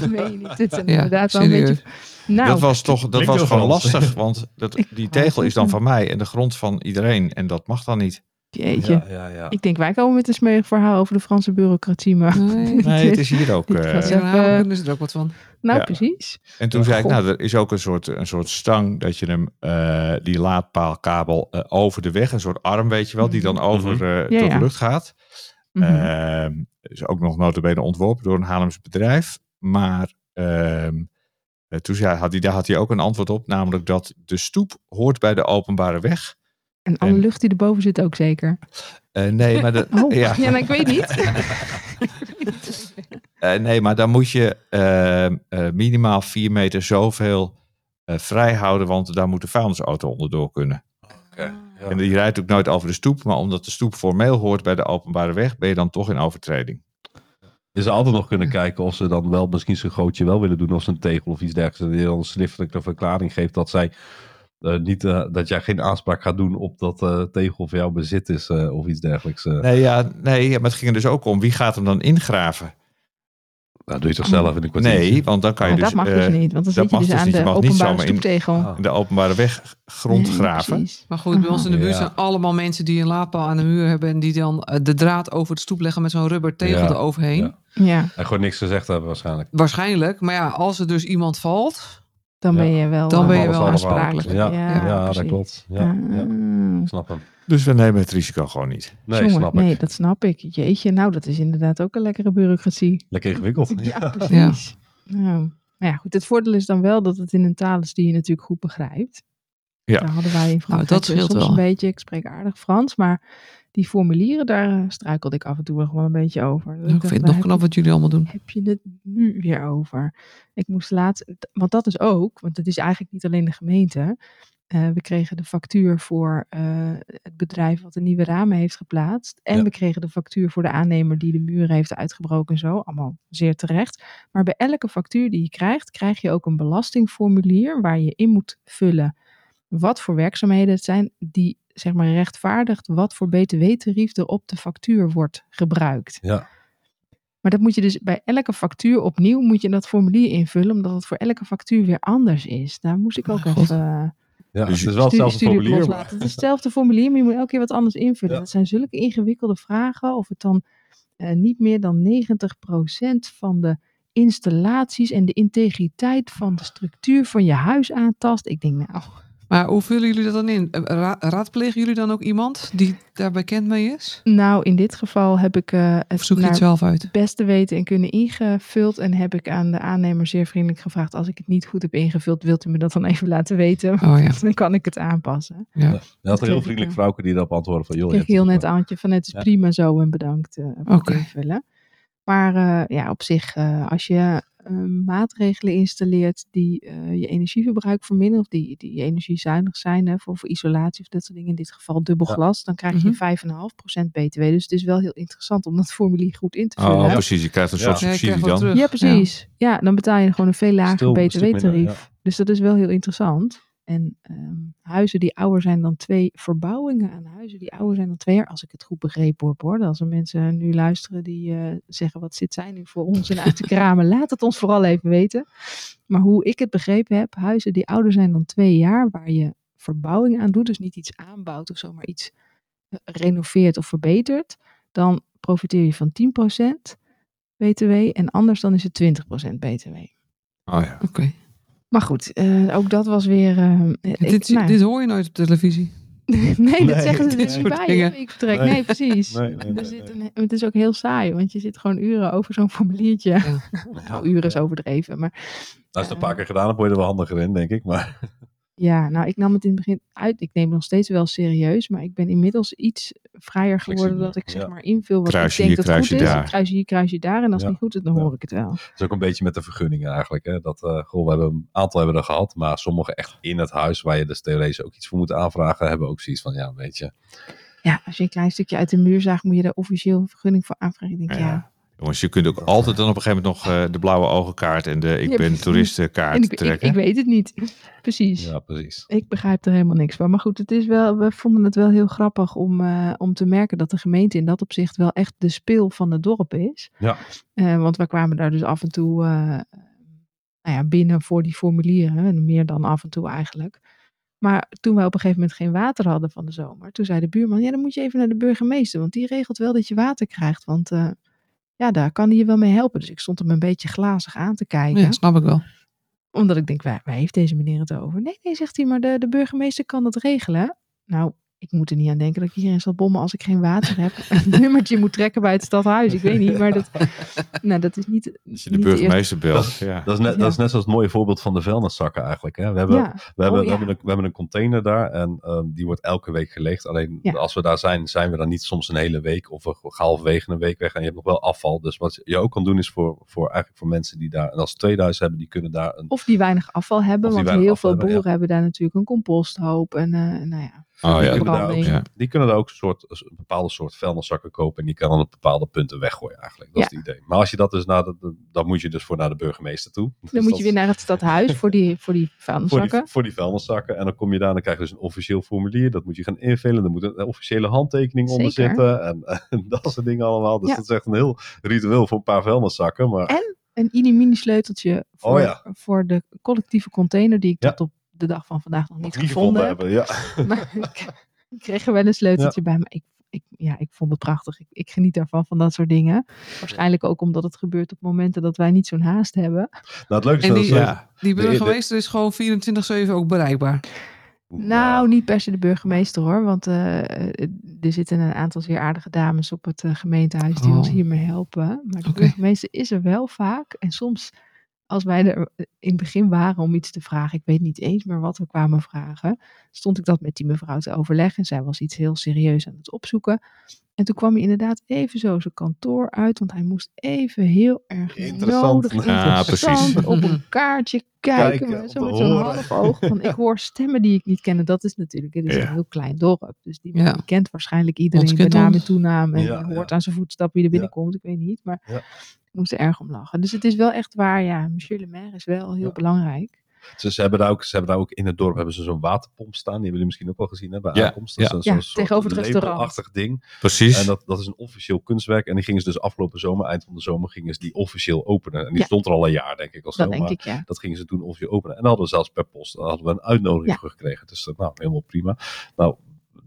S3: Dat meen je niet. Dit is
S4: Ja,
S3: inderdaad wel een
S4: serieus.
S3: beetje... Nou,
S1: dat was toch dat
S2: klinkt
S1: was
S2: heel
S1: gewoon
S2: Frans.
S1: lastig, want dat,
S3: Ik
S1: die
S3: wou
S1: tegel is dan
S3: zeggen.
S1: van mij en de grond van iedereen. En dat mag dan niet.
S3: jeetje.
S2: ja, ja.
S3: Ik denk, wij komen met een smerig verhaal over de Franse bureaucratie, maar...
S4: Nee.
S1: Nee, het is hier ook. eh,
S3: Dit was-
S4: Ja, daar
S3: eh,
S4: kunnen ze er ook wat van.
S3: Nou,
S1: Ja.
S3: precies.
S1: en toen zei ik,
S3: God.
S1: nou, er is ook een soort, een soort stang dat je hem, eh, die laadpaalkabel eh, over de weg, een soort arm, weet je wel, die dan over eh,
S3: Mhm. Ja,
S1: tot
S3: ja.
S1: de lucht gaat.
S3: Mhm.
S1: Ehm, is ook nog notabene ontworpen door een Haarlems bedrijf. Maar ehm, eh, toen zei, had hij, daar had hij ook een antwoord op. Namelijk dat de stoep hoort bij de openbare weg.
S3: en alle
S1: en-
S3: lucht die erboven zit ook zeker.
S1: Eh, nee, maar de,
S3: Oh, ja,
S1: ja,
S3: nou, ik weet niet.
S1: eh, nee, maar dan moet je ehm, eh, minimaal vier meter zoveel eh, vrij houden. Want daar moet de vuilnisauto onderdoor kunnen. En die rijdt ook nooit over de stoep. Maar omdat de stoep formeel hoort bij de openbare weg, ben je dan toch in overtreding.
S2: Je zou altijd nog kunnen kijken of ze dan wel misschien zo'n gootje wel willen doen als een tegel of iets dergelijks. En die dan schriftelijk een verklaring geeft dat zij eh, niet, eh, dat jij geen aanspraak gaat doen op dat eh, tegel voor jouw bezit is eh, of iets dergelijks. eh.
S1: Nee, ja, nee, ja, maar het ging er dus ook om wie gaat hem dan ingraven.
S2: Nou, doe je toch zelf in een kwartier.
S1: Nee, want dan kan je
S3: Maar
S1: dus,
S3: dat mag dus
S1: eh,
S3: niet, want
S1: dat
S3: dan zit je
S1: mag
S3: dus
S1: dus
S3: aan
S1: niet. Je
S3: de
S1: mag niet
S3: openbare
S1: zomaar in-
S3: stoeptegel.
S2: Ah.
S1: de openbare weg grond
S3: Nee,
S1: graven.
S3: precies.
S4: Maar goed, bij ons in de buurt
S2: Ja.
S4: zijn allemaal mensen die een laadpaal aan de muur hebben. En die dan eh, de draad over de stoep leggen met zo'n rubber tegel
S2: Ja.
S4: eroverheen.
S2: Ja.
S3: Ja,
S2: En gewoon niks gezegd hebben waarschijnlijk.
S4: Waarschijnlijk. Maar ja, als er dus iemand valt.
S3: dan
S2: Ja.
S3: ben je wel,
S4: Dan
S3: eh,
S4: ben je
S2: Alles
S4: wel
S2: allemaal.
S3: aansprakelijk.
S2: Ja,
S3: Ja,
S2: ja, dat
S3: precies.
S2: klopt. Ja, ja.
S3: Ah.
S2: Ik snap hem.
S1: Dus we nemen het risico gewoon niet.
S2: Nee,
S3: Jongen,
S2: snap
S3: nee,
S2: ik.
S3: dat snap ik. Jeetje, nou, dat is inderdaad ook een lekkere bureaucratie.
S2: Lekker ingewikkeld.
S3: Ja, precies. Nou, nou ja, goed. Het voordeel is dan wel dat het in een taal is die je natuurlijk goed begrijpt.
S1: Ja.
S3: Daar hadden wij in Frankrijk
S4: Nou, dat scheelt
S3: soms
S4: wel.
S3: een beetje. Ik spreek aardig Frans, maar die formulieren, daar eh, struikelde ik af en toe nog wel een beetje over.
S4: Nou, Ik vind het nog knap wat jullie allemaal doen.
S3: heb je het nu weer over? Ik moest laatst, want dat is ook, want het is eigenlijk niet alleen de gemeente. Eh, we kregen de factuur voor eh, het bedrijf wat de nieuwe ramen heeft geplaatst. En
S2: Ja.
S3: we kregen de factuur voor de aannemer die de muren heeft uitgebroken en zo. Allemaal zeer terecht. Maar bij elke factuur die je krijgt, krijg je ook een belastingformulier waar je in moet vullen wat voor werkzaamheden het zijn die zeg maar rechtvaardigt wat voor btw-tarief er op de factuur wordt gebruikt.
S2: Ja.
S3: Maar dat moet je dus bij elke factuur opnieuw moet je dat formulier invullen, omdat het voor elke factuur weer anders is. Daar moest ik ook
S4: Mijn Oh god.
S3: even eh,
S2: Ja,
S1: Dus
S2: het is wel
S3: studie-
S2: hetzelfde
S3: studie op
S2: formulier. maar-
S3: loslaten. Het is hetzelfde formulier, maar je moet elke keer wat anders invullen.
S2: Ja.
S3: Dat zijn zulke ingewikkelde vragen of het dan eh, niet meer dan 90% van de installaties en de integriteit van de structuur van je huis aantast. Ik denk, nou,
S4: Maar hoe vullen jullie dat dan in? Eh, ra- raadplegen jullie dan ook iemand die daar bekend mee is?
S3: nou in dit geval heb ik eh,
S4: Of
S3: het
S4: zoek je
S3: naar
S4: het zelf uit?
S3: het beste weten en kunnen ingevuld. En heb ik aan de aannemer zeer vriendelijk gevraagd: als ik het niet goed heb ingevuld, wilt u me dat dan even laten weten?
S4: Oh ja.
S3: Dan kan ik het aanpassen.
S2: Je had een heel
S3: Kreeg ik,
S2: vriendelijk
S3: ja.
S2: vrouwke die daarop antwoordde van... joh,
S3: Ik
S2: je
S3: kreeg
S2: hebt
S3: heel
S2: het
S3: net Antje van het is
S2: Ja.
S3: prima zo en bedankt eh, voor
S4: Oké.
S3: het invullen. Maar eh, ja, op zich, eh, als je eh, maatregelen installeert die eh, je energieverbruik verminderen of die, die energiezuinig zijn hè, voor, voor isolatie of dat soort dingen, in dit geval dubbel
S2: Ja.
S3: glas, dan krijg
S4: Mhm.
S3: je 5,5% btw. Dus het is wel heel interessant om dat formulier goed in te vullen.
S1: Oh, precies. Je krijgt een
S2: Ja.
S1: soort
S4: Ja, ik krijg
S1: subsidie dan.
S4: wel terug.
S3: Ja, precies. Ja. dan betaal je gewoon een veel lager
S2: Stil- een stuk minder,
S3: btw-tarief. Dus dat is wel heel interessant. En ehm, huizen die ouder zijn dan twee verbouwingen aan huizen die ouder zijn dan twee jaar. Als ik het goed begrepen heb hoor. Als er mensen nu luisteren die eh, zeggen wat zit zij nu voor ons en uit de kramen. Laat het ons vooral even weten. Maar hoe ik het begrepen heb. Huizen die ouder zijn dan twee jaar. Waar je verbouwing aan doet. Dus niet iets aanbouwt of zo. Maar iets eh, renoveert of verbetert. Dan profiteer je van 10% BTW. En anders dan is het 20% BTW.
S1: Oh ja.
S4: Oké.
S3: Maar goed, eh, ook dat was weer. eh, ik-
S4: Dit,
S3: nou,
S4: dit hoor je nooit op televisie.
S3: nee, dat zeggen ze
S2: dit
S3: er
S2: soort
S3: niet bij.
S4: dingen.
S3: hè, Ik vertrek.
S2: Nee.
S3: Nee, precies.
S2: Nee, nee,
S3: Er
S2: nee,
S3: zit een- het is ook heel saai, want je zit gewoon uren over zo'n formuliertje. Nou, uren is overdreven. Maar
S2: Als je Nou, het een paar keer gedaan hebt, word je er wel handiger in, denk ik. Maar
S3: ja, nou, ik nam het in het begin uit. Ik neem het nog steeds wel serieus, maar ik ben inmiddels iets vrijer geworden.
S2: Flexibeler,
S3: Dat ik zeg
S2: ja.
S3: maar invul wat
S1: Kruisje
S3: ik denk
S1: hier,
S3: dat
S1: kruisje
S3: goed is.
S1: daar.
S3: Kruis hier, kruis je daar. En als
S2: Ja.
S3: het niet goed is, dan
S2: Ja.
S3: hoor ik het wel.
S2: het is ook een beetje met de vergunningen eigenlijk. Hè? Dat, eh, goh, we hebben een aantal hebben we er gehad, maar sommige echt in het huis waar je dus theoretisch ook iets voor moet aanvragen, hebben ook zoiets van, ja, weet je.
S3: Ja, als je een klein stukje uit de muur zaagt, moet je daar officieel een vergunning voor aanvragen. Ik denk, ja,
S1: Jongens, je kunt ook altijd dan op een gegeven moment nog eh, de blauwe ogenkaart en de ik
S3: Ja,
S1: ben
S3: precies.
S1: toeristenkaart
S3: en ik, ik,
S1: trekken.
S3: ik weet het niet. Precies.
S2: Ja, precies.
S3: Ik begrijp er helemaal niks van. Maar goed, het is wel, we vonden het wel heel grappig om, eh, om te merken dat de gemeente in dat opzicht wel echt de speel van het dorp is.
S2: Ja.
S3: Eh, want we kwamen daar dus af en toe eh, nou ja, binnen voor die formulieren. En meer dan af en toe eigenlijk. Maar toen wij op een gegeven moment geen water hadden van de zomer, toen zei de buurman: Ja, dan moet je even naar de burgemeester, want die regelt wel dat je water krijgt. Want eh, ja, daar kan hij je wel mee helpen. Dus ik stond hem een beetje glazig aan te kijken
S4: Ja, snap ik wel.
S3: omdat ik denk, waar, waar heeft deze meneer het over? Nee, nee, zegt hij, maar de, de burgemeester kan dat regelen. Nou, ik moet er niet aan denken dat ik hierin zal bommen als ik geen water heb. Een nummertje moet trekken bij het stadhuis. Ik weet niet, maar dat, nou, dat is niet.
S1: Als je de
S3: niet eerste-
S1: burgemeester belt. Ja.
S2: Dat is, net,
S3: Ja.
S2: dat is net zoals het mooie voorbeeld van de vuilniszakken eigenlijk. Hè? We hebben,
S3: Ja,
S2: We hebben,
S3: Oh,
S2: we,
S3: ja.
S2: hebben een, we hebben een container daar en ehm, die wordt elke week geleegd. Alleen
S3: Ja.
S2: als we daar zijn, zijn we dan niet soms een hele week of we gaan halverwege een week weg en je hebt nog wel afval. Dus wat je ook kan doen is voor, voor, eigenlijk voor mensen die daar, en als ze 2000 hebben, die kunnen daar een...
S3: of die weinig afval hebben,
S2: Of die
S3: want
S2: weinig
S3: heel
S2: afval
S3: veel
S2: hebben, Dus
S3: boeren hebben daar natuurlijk een composthoop. En eh, nou ja,
S1: Oh
S2: die,
S1: ja,
S2: kunnen daar ook,
S3: verbranding.
S1: ja.
S2: die kunnen daar ook een, soort, een bepaalde soort vuilniszakken kopen en die kan dan op bepaalde punten weggooien eigenlijk. Dat is het idee. Maar als je dat dus naar de, dan moet je dus voor naar de burgemeester toe. Dus
S3: dan moet je weer naar het stadhuis voor die, voor die
S2: voor
S3: vuilniszakken.
S2: die, voor die vuilniszakken. En dan kom je daar en dan krijg je dus een officieel formulier. Dat moet je gaan invullen. Er moet een officiële handtekening onder
S3: Zeker.
S2: zitten. En, en dat soort dingen allemaal. Dus
S3: Ja.
S2: dat is echt een heel ritueel voor een paar vuilniszakken. Maar
S3: En- Een inimini sleuteltje voor,
S2: Oh ja.
S3: voor de collectieve container die ik
S2: Ja.
S3: tot op de dag van vandaag nog niet
S2: die
S3: gevonden
S2: gevonden
S3: heb.
S2: hebben. Ja.
S3: Maar ik, ik kreeg er wel een sleuteltje bij. Maar ik, ik, ja, ik vond het prachtig. Ik, ik geniet daarvan, van dat soort dingen. Waarschijnlijk ook omdat het gebeurt op momenten dat wij niet zo'n haast hebben.
S2: Nou, het leuke is
S4: En
S2: dat
S4: die-
S2: ze-
S1: Ja.
S4: Die
S2: De- de-
S4: burgemeester is gewoon 24-7 ook bereikbaar.
S3: Nou, niet per se de burgemeester hoor. Want eh, eh, er zitten een aantal zeer aardige dames op het eh, gemeentehuis die
S4: Oh.
S3: ons hiermee helpen. Maar de
S4: Oké.
S3: burgemeester is er wel vaak. En soms, als wij er eh, in het begin waren om iets te vragen, ik weet niet eens meer wat we kwamen vragen, stond ik dat met die mevrouw te overleggen. En zij was iets heel serieus aan het opzoeken. En toen kwam hij inderdaad even zo zijn kantoor uit, want hij moest even heel erg
S2: Interessant.
S3: nodig,
S1: Ja,
S3: interessant
S1: precies.
S3: op een kaartje kijken,
S2: Kijken,
S3: maar zo
S2: om
S3: met
S2: te
S3: zo'n
S2: horen.
S3: half oog. Van, ik hoor stemmen die ik niet ken. Dat is natuurlijk, het is
S1: Ja.
S3: een heel klein dorp. Dus die
S4: Ja.
S3: die kent waarschijnlijk iedereen
S4: Ons
S3: bij
S4: kent
S3: naam
S4: ons.
S3: en toenaam. En
S2: Ja,
S3: je hoort
S2: ja.
S3: aan zijn voetstap wie er
S2: Ja.
S3: binnenkomt. Ik weet niet, maar
S2: Ja.
S3: ik moest er erg om lachen. Dus het is wel echt waar, ja, monsieur le maire is wel heel
S2: Ja.
S3: belangrijk.
S2: Ze, ze hebben daar ook, ze hebben daar ook in het dorp hebben ze zo'n waterpomp staan. Die hebben jullie misschien ook wel gezien hè, bij
S1: Ja,
S2: aankomst. Dat
S1: ja.
S2: is
S3: Ja,
S2: zo'n soort
S3: tegenover het restaurant.
S2: lepelachtig ding. En
S1: Precies.
S2: dat, dat is een officieel kunstwerk. En die gingen ze dus afgelopen zomer, eind van de zomer, gingen ze die officieel openen. En die
S3: Ja.
S2: stond er al een jaar, denk ik. Als
S3: Dat
S2: zo,
S3: denk
S2: maar
S3: ik, ja.
S2: Dat gingen ze toen officieel openen. En dan hadden we zelfs per post dan hadden we een uitnodiging
S3: Ja.
S2: voor gekregen. Dus dat, nou, helemaal prima. Nou,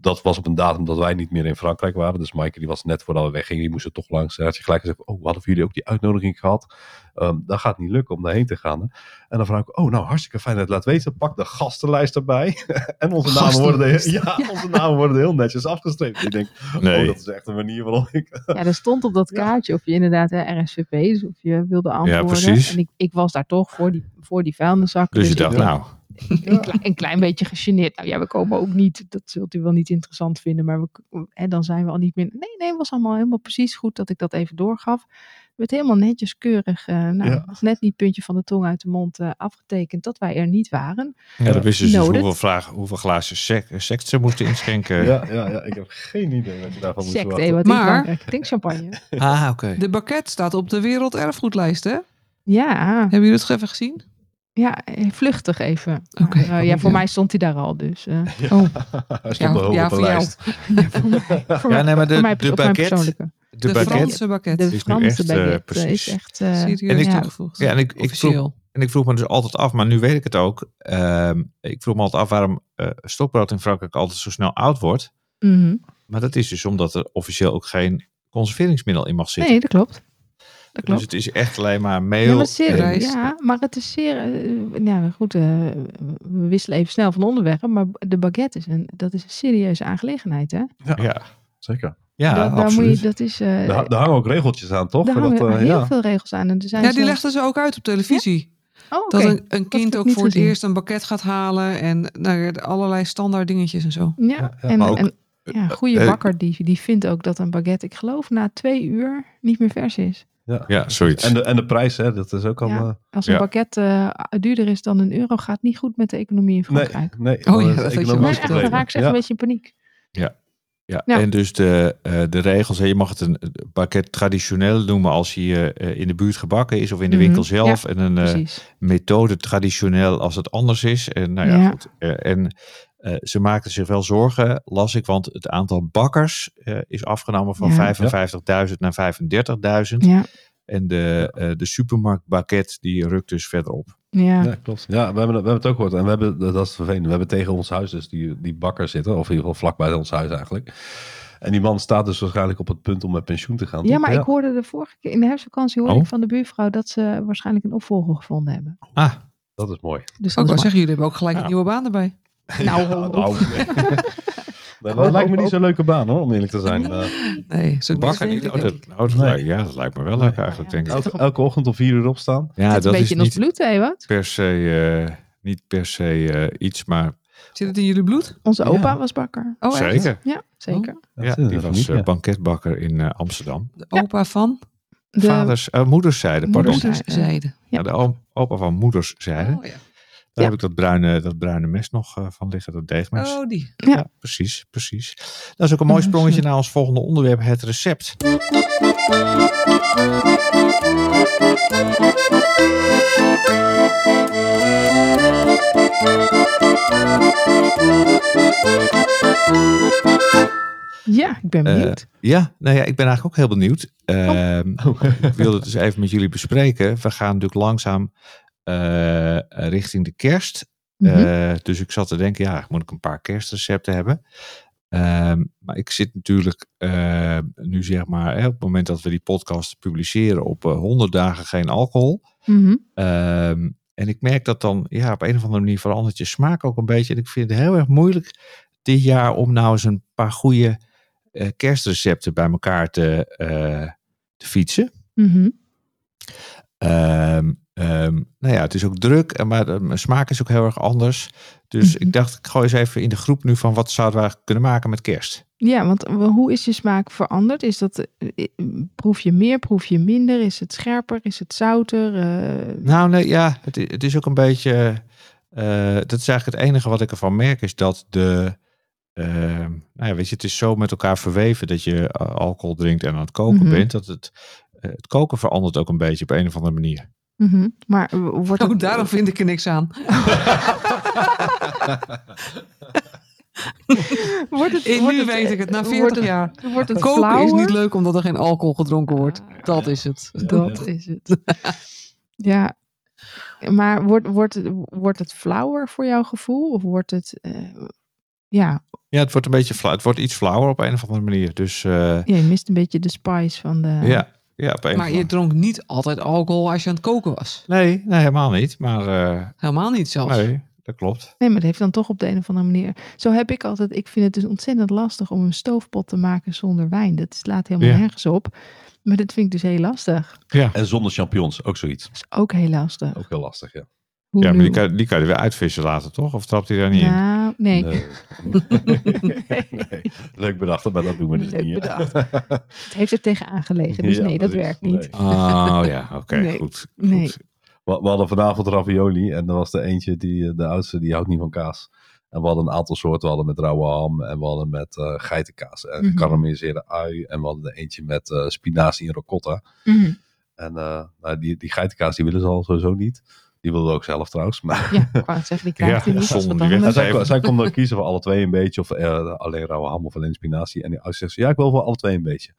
S2: dat was op een datum dat wij niet meer in Frankrijk waren. Dus Maaike, die was net voordat we weggingen, die moest er toch langs. Hij had je gelijk gezegd, oh, hadden jullie ook die uitnodiging gehad? Ehm, dat gaat niet lukken om daarheen te gaan. Hè? En dan vraag ik, oh, nou, hartstikke fijn dat je het laat weten. Pak de gastenlijst erbij. en onze namen, worden heel, ja, onze namen worden heel netjes afgestreept. Ik denk, oh,
S1: Nee.
S2: dat is echt een manier waarop ik...
S3: Ja, er stond op dat
S2: Ja.
S3: kaartje of je inderdaad hè, RSVP is of je wilde antwoorden.
S1: precies.
S3: En ik, ik was daar toch voor die, voor die vuilniszakken.
S1: Dus je
S3: ik
S1: dacht, nou,
S3: een, klein, een klein beetje gegeneerd. Nou ja, we komen ook niet. Dat zult u wel niet interessant vinden. Maar we, hè, dan zijn we al niet meer. Nee, nee, was allemaal helemaal precies goed dat ik dat even doorgaf. Werd helemaal netjes, keurig. eh, nou,
S2: Ja.
S3: was net niet puntje van de tong uit de mond eh, afgetekend dat wij er niet waren.
S1: ja, dan wist je dus
S3: Noted.
S1: hoeveel, vragen, hoeveel glazen sec- sect ze moesten inschenken.
S2: Ja, ja, ja, ik heb geen idee wat je daarvan moet
S3: Sect,
S2: verwachten.
S3: hé, wat
S4: Maar-
S3: maar... Frankrijk. Ik Denk champagne.
S1: Ah, oké.
S4: De baket staat op de werelderfgoedlijst, hè?
S3: Ja,
S4: Hebben jullie het even gezien?
S3: Ja, eh, vluchtig even.
S4: Oké,
S3: Maar, eh,
S4: goed,
S3: ja, voor
S4: ja.
S3: mij stond hij daar al. Dus, eh,
S2: Hij stond
S4: Ja,
S2: hoog
S4: ja,
S2: op de
S4: voor jou.
S2: lijst.
S3: ja, voor mij, voor
S1: Ja, nee,
S3: mij-
S1: maar
S3: voor mij
S1: de,
S3: op
S1: de
S3: mijn
S1: baguette,
S3: persoonlijke.
S1: de
S4: De,
S1: baguette
S4: Franse baguette.
S3: De
S1: nu
S3: Franse
S1: echt, eh,
S3: baguette eh,
S1: precies.
S3: is echt... eh,
S4: Serieus
S1: en
S3: ik-
S4: toegevoegd.
S1: Ja, en ik, ik, vroeg,
S4: Officieel.
S1: en ik vroeg me dus altijd af, maar nu weet ik het ook. ehm, ik vroeg me altijd af waarom eh, stokbrood in Frankrijk altijd zo snel oud wordt.
S3: mhm.
S1: Maar dat is dus omdat er officieel ook geen conserveringsmiddel in mag zitten.
S3: Nee, dat klopt. Dat
S1: dus
S3: klopt.
S1: het is echt alleen maar meel.
S3: Ja, maar, zeer,
S1: en-
S4: rijst.
S3: ja, maar het is zeer... eh, ja, goed, eh, we wisselen even snel van onderweg. Maar de baguette is een, dat is een serieuze aangelegenheid, hè?
S1: ja,
S2: Zeker.
S1: ja,
S3: daar, daar
S1: absoluut.
S3: moet je, dat is... eh,
S2: Daar, daar hangen ook regeltjes aan, toch?
S3: daar
S2: Voor
S3: hangen oh,
S2: dat, eh,
S3: heel
S2: ja.
S3: veel regels aan. En er zijn
S4: Ja, die
S3: zelfs-
S4: legden ze ook uit op televisie.
S3: Oh, oké.
S4: Dat een, een kind
S3: heb ik
S4: ook
S3: niet
S4: voor het
S3: gezien.
S4: eerst een pakket gaat halen. En nou, ja, allerlei standaard dingetjes en zo.
S3: Ja,
S2: Ja, ja,
S3: en,
S1: maar ook-
S3: en ja, een goede
S1: eh,
S3: bakker die, die vindt ook dat een baguette, ik geloof, na twee uur niet meer vers is.
S1: Ja, zoiets.
S2: En de, en de prijs, hè, dat is ook al...
S3: Ja.
S2: eh,
S3: Als een
S1: Ja.
S3: baguette eh, duurder is dan een euro, gaat niet goed met de economie in
S2: nee,
S3: Frankrijk.
S2: nee.
S4: ja,
S2: dan is
S4: dat
S2: het
S4: had je
S2: economisch
S4: wel.
S3: Maar echt,
S2: probleem.
S3: dan raak ik ze echt
S2: Ja.
S3: een beetje in paniek.
S1: Ja,
S3: Ja.
S1: en dus de, eh, de regels. hè, Je mag het een pakket traditioneel noemen als hij eh, eh, in de buurt gebakken is of in de
S3: Mhm.
S1: winkel zelf. En een eh,
S3: Precies.
S1: methode traditioneel als het anders is. En, nou ja,
S3: Ja.
S1: Goed, eh, en eh, ze maakten zich wel zorgen, las ik, want het aantal bakkers eh, is afgenomen van
S3: Ja.
S1: 55.000 naar 35.000.
S3: Ja,
S1: En de, eh de supermarktbakket die rukt dus verder op.
S3: ja.
S2: Ja, klopt. Ja, we hebben, we hebben het ook gehoord. En we hebben, dat is vervelend, we hebben tegen ons huis dus die, die bakker zitten. Of in ieder geval vlakbij ons huis eigenlijk. En die man staat dus waarschijnlijk op het punt om met pensioen te gaan.
S3: ja
S2: toch?
S3: maar
S4: eh,
S3: ik hoorde de vorige keer, in de herfstvakantie hoorde
S1: Oh.
S3: ik van de buurvrouw dat ze waarschijnlijk een opvolger gevonden hebben.
S1: Ah,
S2: Dat is mooi.
S3: Dus
S4: Ook
S3: dat
S4: wel
S3: is
S4: Oh, zeggen, jullie hebben ook gelijk
S1: Ja.
S4: een nieuwe baan erbij.
S3: Nou,
S2: Ja,
S3: ho, ho.
S2: nee. Nee, dat lijkt me niet zo'n leuke baan hoor, om eerlijk te zijn. Eh,
S4: Nee, zo
S1: bakker niet?
S4: denk
S1: Oh,
S4: ik.
S1: dat, oh, dat
S2: Nee.
S1: lijkt- ja, dat lijkt me wel leuk
S2: Nee.
S1: eigenlijk,
S3: Ja,
S1: denk ik.
S2: Eh, elke, elke ochtend om vier uur opstaan.
S1: Ja,
S3: het
S1: dat
S3: een
S1: is
S3: beetje in ons
S1: niet
S3: bloed, hè, wat?
S1: per se, eh, niet per se eh, iets, maar
S4: Zit het in jullie bloed?
S3: Onze
S2: Ja.
S3: opa was bakker.
S4: Oh, echt?
S1: zeker.
S3: Ja, zeker.
S4: Oh,
S1: Ja,
S2: Dat is het
S1: die
S2: niet,
S1: was
S2: ja.
S1: eh, banketbakker in eh, Amsterdam.
S4: De opa van
S3: De
S1: Vaders, eh, moederszijde, pardon.
S3: Moederszijde.
S4: moederszijde.
S1: Ja, de oom- opa van moederszijde.
S4: Oh, ja.
S1: Daar
S3: Ja.
S1: heb ik dat bruine, dat bruine mes nog eh, van liggen, dat deegmes.
S4: oh, die.
S1: ja.
S3: ja.
S1: precies, precies. Dat is ook een mooi
S3: Ja,
S1: sprongetje
S3: zo.
S1: naar ons volgende onderwerp, het recept.
S3: Ja, ik ben
S1: Eh,
S3: benieuwd.
S1: Ja, nou ja, ik ben eigenlijk ook heel benieuwd. Ehm,
S2: Oh.
S1: Ik wilde het dus even met jullie bespreken. We gaan natuurlijk langzaam eh, richting de kerst.
S3: Mhm.
S1: Eh, dus ik zat te denken, ja, moet ik een paar kerstrecepten hebben? Ehm, maar ik zit natuurlijk eh, nu zeg maar, hè, op het moment dat we die podcast publiceren op eh, 100 dagen geen alcohol.
S3: Mhm.
S1: Ehm, en ik merk dat dan, ja, op een of andere manier verandert je smaak ook een beetje. En ik vind het heel erg moeilijk dit jaar om nou eens een paar goede eh, kerstrecepten bij elkaar te, eh, te fietsen.
S3: Mhm.
S1: Ehm, ehm, nou ja, het is ook druk, en maar de- mijn smaak is ook heel erg anders. Dus
S3: Mhm.
S1: ik dacht, ik gooi eens even in de groep nu van wat zouden we eigenlijk kunnen maken met kerst.
S3: Ja, want w- hoe is je smaak veranderd? Is dat, eh, eh, proef je meer, proef je minder? Is het scherper? Is het zouter? Eh,
S1: Nou nee, ja, het, i- het is ook een beetje, eh, dat is eigenlijk het enige wat ik ervan merk, is dat de, ehm, nou ja, weet je, het is zo met elkaar verweven dat je eh, alcohol drinkt en aan het koken
S3: Mhm.
S1: bent, dat het, eh, het koken verandert ook een beetje op een of andere manier.
S3: mhm. Maar eh, wordt
S4: Oh,
S3: het...
S4: daarom vind ik er niks aan.
S3: Wordt het
S4: En
S3: wordt
S4: nu
S3: het,
S4: weet
S3: eh,
S4: ik het, na
S3: wordt
S4: 40
S3: het-
S4: jaar.
S3: Wordt het
S4: Koken is niet
S3: flauwer?
S4: leuk omdat er geen alcohol gedronken wordt.
S3: Ah,
S4: Dat is het.
S3: Dat is het. ja. Maar wordt, wordt, het- wordt het flauwer voor jouw gevoel? Of wordt het... eh, ja,
S1: Ja, het wordt een beetje, flauw, het wordt iets flauwer op een of andere manier. Dus eh,
S3: ja, je mist een beetje de spice van de...
S1: ja, ja, op een of
S4: Maar je
S1: andere
S4: dronk niet altijd alcohol als je aan het koken was.
S1: Nee, nee, helemaal niet. Maar eh,
S4: Helemaal niet zelfs.
S1: Nee, dat klopt.
S3: Nee, maar dat heeft dan toch op de een of andere manier. Zo heb ik altijd. Ik vind het dus ontzettend lastig om een stoofpot te maken zonder wijn. Dat slaat helemaal
S1: Ja.
S3: nergens op. Maar dat vind ik dus heel lastig.
S2: En zonder champignons, ook zoiets.
S3: Dat is ook heel lastig.
S2: Ook heel lastig, ja.
S3: Hoe
S1: Ja, maar
S3: nu?
S1: die kan, die kan je er weer uitvissen laten, toch? Of trapt hij daar niet in?
S3: Nou, nee.
S2: Nee. Leuk bedacht, maar dat doen we dus
S3: Leuk
S2: niet. hè.
S3: bedacht. Het heeft er tegenaan gelegen. Dus
S2: Ja,
S3: nee, dat
S2: precies.
S3: werkt
S2: Nee.
S3: niet.
S1: Oh ja, oké,
S3: Nee,
S1: goed.
S3: nee.
S1: goed.
S2: We, we hadden vanavond ravioli en er was er eentje, die, eh, de oudste, die houdt niet van kaas. En we hadden een aantal soorten. We hadden met rauwe ham en we hadden met eh, geitenkaas en
S3: Mhm.
S2: gekarameliseerde ui. En we hadden er eentje met eh, spinazie en ricotta.
S3: Mhm.
S2: En eh, nou, die, die geitenkaas, die willen ze al sowieso niet. Die Die wilde ook zelf trouwens. Maar
S3: Ja, ik wou het zeggen, die krijgt
S2: Ja,
S3: hij niet. als
S1: zonde,
S3: we
S1: die
S3: dan
S2: Ja,
S1: werd-
S3: met-
S2: zij,
S1: Even.
S2: zij kon dan kiezen voor alle twee een beetje, of eh, alleen rauwe ham of alleen spinazie. En hij zegt, ze, ja, ik wil voor alle twee een beetje.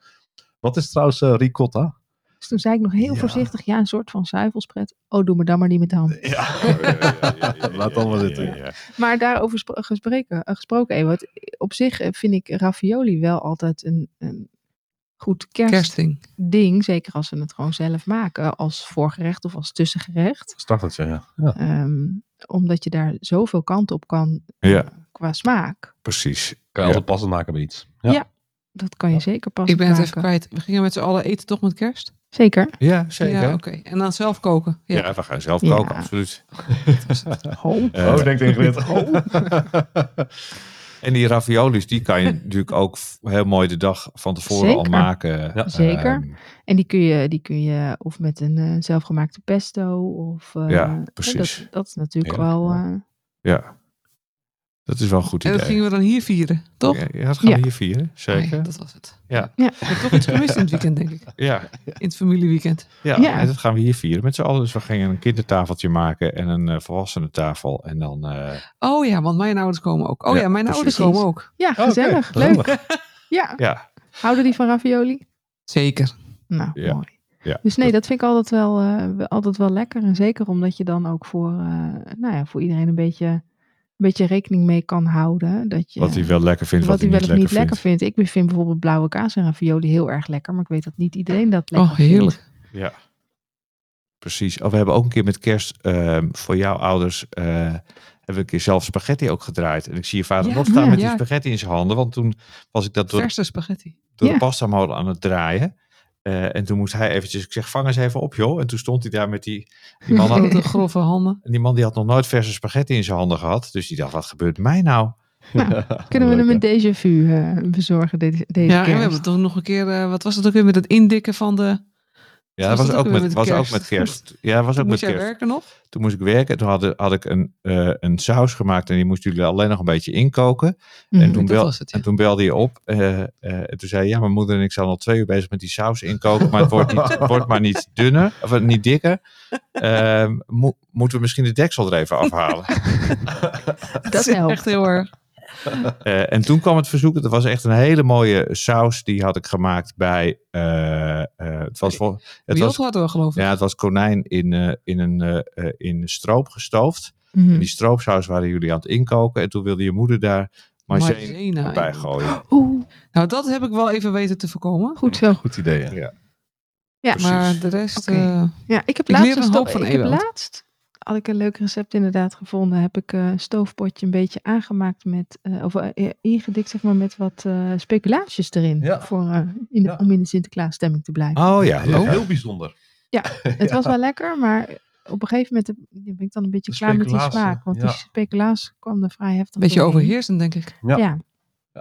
S2: Wat is trouwens eh, ricotta?
S3: Dus toen zei ik nog heel
S2: Ja.
S3: voorzichtig, ja, een soort van zuivelspret. Oh, doe me dan maar niet met de hand.
S2: Ja.
S1: Laat
S2: Laat allemaal zitten.
S3: Maar daarover spro- gespreken, eh, gesproken, Ewout. Op zich eh, vind ik ravioli wel altijd een, een goed kerstding.
S4: Kerstding.
S3: Zeker als we het gewoon zelf maken. Als voorgerecht of als tussengerecht.
S2: Startertje, ja. ja.
S3: Ehm, omdat je daar zoveel kant op kan
S1: Ja,
S3: qua smaak.
S1: precies.
S2: Kan je altijd passend maken bij iets. Ja.
S3: Ja. Dat kan je
S2: Ja.
S3: zeker pas
S4: Ik ben het
S3: maken.
S4: even kwijt. We gingen met z'n allen eten toch met kerst?
S3: Zeker.
S1: Ja, zeker.
S4: Ja,
S1: Ja,
S4: oké. En dan zelf koken. Ja.
S1: we gaan zelf
S3: Ja.
S1: koken, absoluut.
S3: Oh.
S1: Eh,
S2: oh, denkt Ingrid.
S1: En die raviolis, die kan je natuurlijk ook f- heel mooi de dag van tevoren al
S3: Zeker.
S1: maken.
S2: Ja.
S3: Zeker.
S1: Ehm,
S3: En die kun je, die kun je of met een eh, zelfgemaakte pesto. Of, eh,
S1: Ja,
S3: hè,
S1: precies.
S3: Dat, dat is natuurlijk
S2: Heerlijk,
S3: wel...
S2: ja.
S3: eh,
S1: ja, dat is wel een goed
S4: En
S1: idee.
S4: dat gingen we dan hier vieren, toch?
S1: Ja, ja, dat gaan we
S3: Ja.
S1: hier vieren, zeker.
S4: Nee, dat was het.
S1: Ja.
S3: Ja.
S4: Ik heb toch iets gemist in het weekend, denk ik.
S1: ja.
S4: In het familieweekend.
S1: Ja,
S3: Ja.
S1: en dat gaan we hier vieren met z'n allen. Dus we gingen een kindertafeltje maken en een eh volwassenentafel. En dan, eh,
S4: Oh ja, want mijn ouders komen ook. Oh
S1: Ja,
S4: ja, mijn
S1: precies.
S4: ouders komen ook.
S3: ja, gezellig.
S2: Oh, Oké,
S3: Leuk.
S2: geweldig.
S3: Ja.
S1: ja,
S3: Houden die van ravioli?
S4: Zeker.
S3: Nou,
S1: Ja.
S3: mooi.
S1: ja.
S3: Dus nee, dat vind ik altijd wel, eh, wel- altijd wel lekker. En zeker omdat je dan ook voor, eh, nou ja, voor iedereen een beetje, een beetje rekening mee kan houden. Dat je,
S1: wat hij wel lekker vindt, wat,
S3: wat hij
S1: hij
S3: wel
S1: niet
S3: of
S1: lekker
S3: niet
S1: vindt.
S3: lekker vindt. Ik vind bijvoorbeeld blauwe kaas en ravioli heel erg lekker. Maar ik weet dat niet iedereen dat lekker
S4: Oh, heerlijk.
S1: Ja, precies. Oh, we hebben ook een keer met kerst ehm, voor jouw ouders... eh, hebben we een keer zelf spaghetti ook gedraaid. En ik zie je vader
S4: Ja,
S1: nog staan
S3: ja.
S1: met die
S4: Ja.
S1: spaghetti in zijn handen. Want toen was ik dat door,
S4: Verse spaghetti.
S1: door
S3: Ja.
S1: de pastamolen aan het draaien. Eh, en toen moest hij eventjes, ik zeg, vang eens even op joh. En toen stond hij daar met die, die man had,
S4: Grote, grove handen.
S1: En die man die had nog nooit verse spaghetti in zijn handen gehad. Dus die dacht, wat gebeurt mij nou?
S3: Kunnen we
S2: Leuk,
S3: hem
S2: hè?
S3: met déjà vu eh, bezorgen deze, deze
S4: Ja, en
S3: kerst?
S4: we hebben toch nog een keer, eh, wat was het ook weer met het indikken van de...
S1: Ja,
S4: Was
S1: dat was, ook
S4: dat ook
S1: met,
S4: weer met
S1: was ook
S4: kerst?
S1: met kerst. Ja, dat was ook met
S4: Moet jij
S1: kerst.
S4: werken nog?
S1: Toen moest ik werken. Toen had, had ik een, eh, een saus gemaakt en die moesten jullie alleen nog een beetje inkoken.
S3: Mhm.
S1: En toen,
S4: Dat
S1: bel,
S4: was het, ja.
S1: en toen belde je op. eh, eh, en toen zei je, ja, mijn moeder en ik zijn al twee uur bezig met die saus inkoken. Maar het wordt, niet, het wordt maar niet dunner, of eh, niet dikker. Ehm, mo- moeten we misschien de deksel er even afhalen?
S3: Dat helpt.
S4: Echt heel erg.
S1: Eh, en toen kwam het verzoek. Het was echt een hele mooie saus. Die had ik gemaakt bij. eh, eh, het was vol- het
S4: Riot
S1: was,
S4: hadden we geloof ik.
S1: ja, het was konijn in, eh, in een eh, eh, in stroop gestoofd.
S3: Mhm.
S1: En die stroopsaus waren jullie aan het inkoken. En toen wilde je moeder daar maizena
S4: Maizena,
S1: bij
S4: nou, ja.
S1: gooien.
S3: Oeh,
S4: Nou, dat heb ik wel even weten te voorkomen.
S3: goed zo.
S2: Goed idee, hè?
S3: Ja,
S1: Precies.
S4: Maar de rest...
S3: Oké.
S4: eh,
S3: Ja, ik
S4: Ik
S3: heb laatst,
S4: leer
S3: een
S4: een hoop
S3: sto-
S4: van
S3: ik heb
S4: Ewald.
S3: laatst had ik een leuk recept inderdaad gevonden. Heb ik eh, een stoofpotje een beetje aangemaakt met, eh, of eh, ingedikt zeg maar met wat eh, speculaasjes erin.
S2: Ja.
S3: Voor, eh, in de,
S2: Ja.
S3: Om in de Sinterklaasstemming te blijven.
S1: Oh ja,
S2: Ja,
S1: lekker.
S2: Heel bijzonder.
S3: Het was wel lekker, maar op een gegeven moment heb- ben ik dan een beetje
S2: De
S3: klaar met die
S2: speculaas,
S3: smaak.
S2: hè?
S3: Want
S2: Ja.
S3: die speculaas kwam er vrij heftig
S4: Een beetje
S3: doorheen.
S4: overheersend, denk ik.
S2: Ja.
S3: Ja.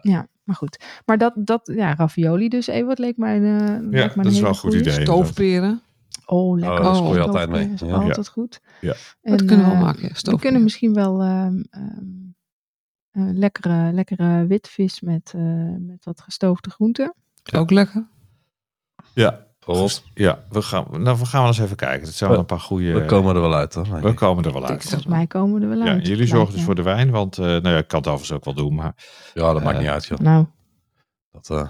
S3: ja. maar goed. Maar dat, dat ja, ravioli dus even, wat leek mij een, eh, leek mij een
S1: dat is
S3: hele
S1: wel een goed
S3: goeie.
S1: idee. inderdaad.
S4: Stoofperen.
S3: Oh, lekker.
S2: Oh, dat spoor je
S3: stoofperen
S2: altijd mee.
S3: is
S2: Ja.
S3: Altijd goed.
S1: Ja.
S3: En,
S4: dat kunnen we wel
S3: eh,
S4: maken. ja,
S3: We kunnen
S4: Stoofperen.
S3: misschien wel ehm, ehm, eh, lekkere, lekkere witvis met, eh, met wat gestoofde groenten.
S4: Ook lekker.
S1: Ja,
S2: Volgens,
S1: ja we, gaan, nou, we gaan wel eens even kijken. Het zijn wel een paar goede.
S2: we komen er wel uit, hoor.
S1: we komen er wel
S4: Ik
S1: uit.
S4: denk
S3: Volgens mij komen we er wel
S1: Ja,
S3: uit.
S1: jullie zorgen dus
S3: lijkt
S1: voor
S3: me.
S1: de wijn. Want eh, nou ja, ik kan het overigens ook wel doen. Maar
S2: Ja, dat maakt
S1: Eh,
S2: niet uit, joh.
S3: Nou,
S2: Dat eh,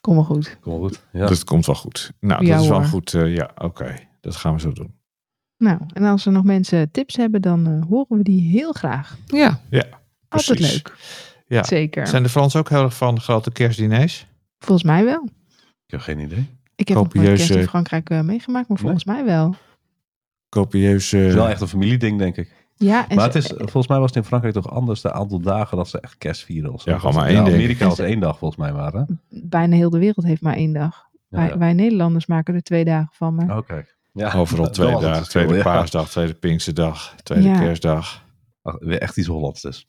S3: kom maar goed.
S2: komt wel goed. Ja.
S1: dat komt wel goed. Nou,
S3: Ja,
S1: dat is wel
S3: hoor.
S1: goed. eh, ja, oké. Dat gaan we zo doen.
S3: Nou, en als er nog mensen tips hebben, dan eh, horen we die heel graag.
S4: Ja,
S3: Altijd
S1: Precies.
S3: leuk.
S1: Ja.
S3: Zeker.
S1: Zijn de Fransen ook heel erg van grote kerstdiners?
S3: Volgens mij wel.
S2: Ik heb geen idee.
S3: Ik heb nog nooit
S1: Copieus,
S3: kerst in
S1: eh,
S3: Frankrijk eh, meegemaakt, maar volgens mij wel.
S1: Copieuze.
S2: Het is wel echt een familieding, denk ik.
S3: Ja, en
S2: Maar het
S3: ze-
S2: is, volgens mij was het in Frankrijk toch anders de aantal dagen dat ze echt kerst vieren. Of zo.
S1: Ja, gewoon
S2: Dat
S1: maar
S2: ze-
S1: één, denk
S2: Amerika
S3: ik.
S2: was één dag volgens mij maar. Hè?
S3: bijna heel de wereld heeft maar één dag.
S2: Ja,
S3: Wij, wij Nederlanders maken er twee dagen van, maar
S2: ja. Oh, kijk. Ja.
S1: Overal
S2: Dat
S1: twee
S2: was het
S1: dagen.
S2: verschil,
S1: Tweede
S2: ja.
S1: paasdag, tweede Pinksterdag, tweede
S3: Ja.
S1: kerstdag.
S2: Ach, Weer echt iets Hollands dus.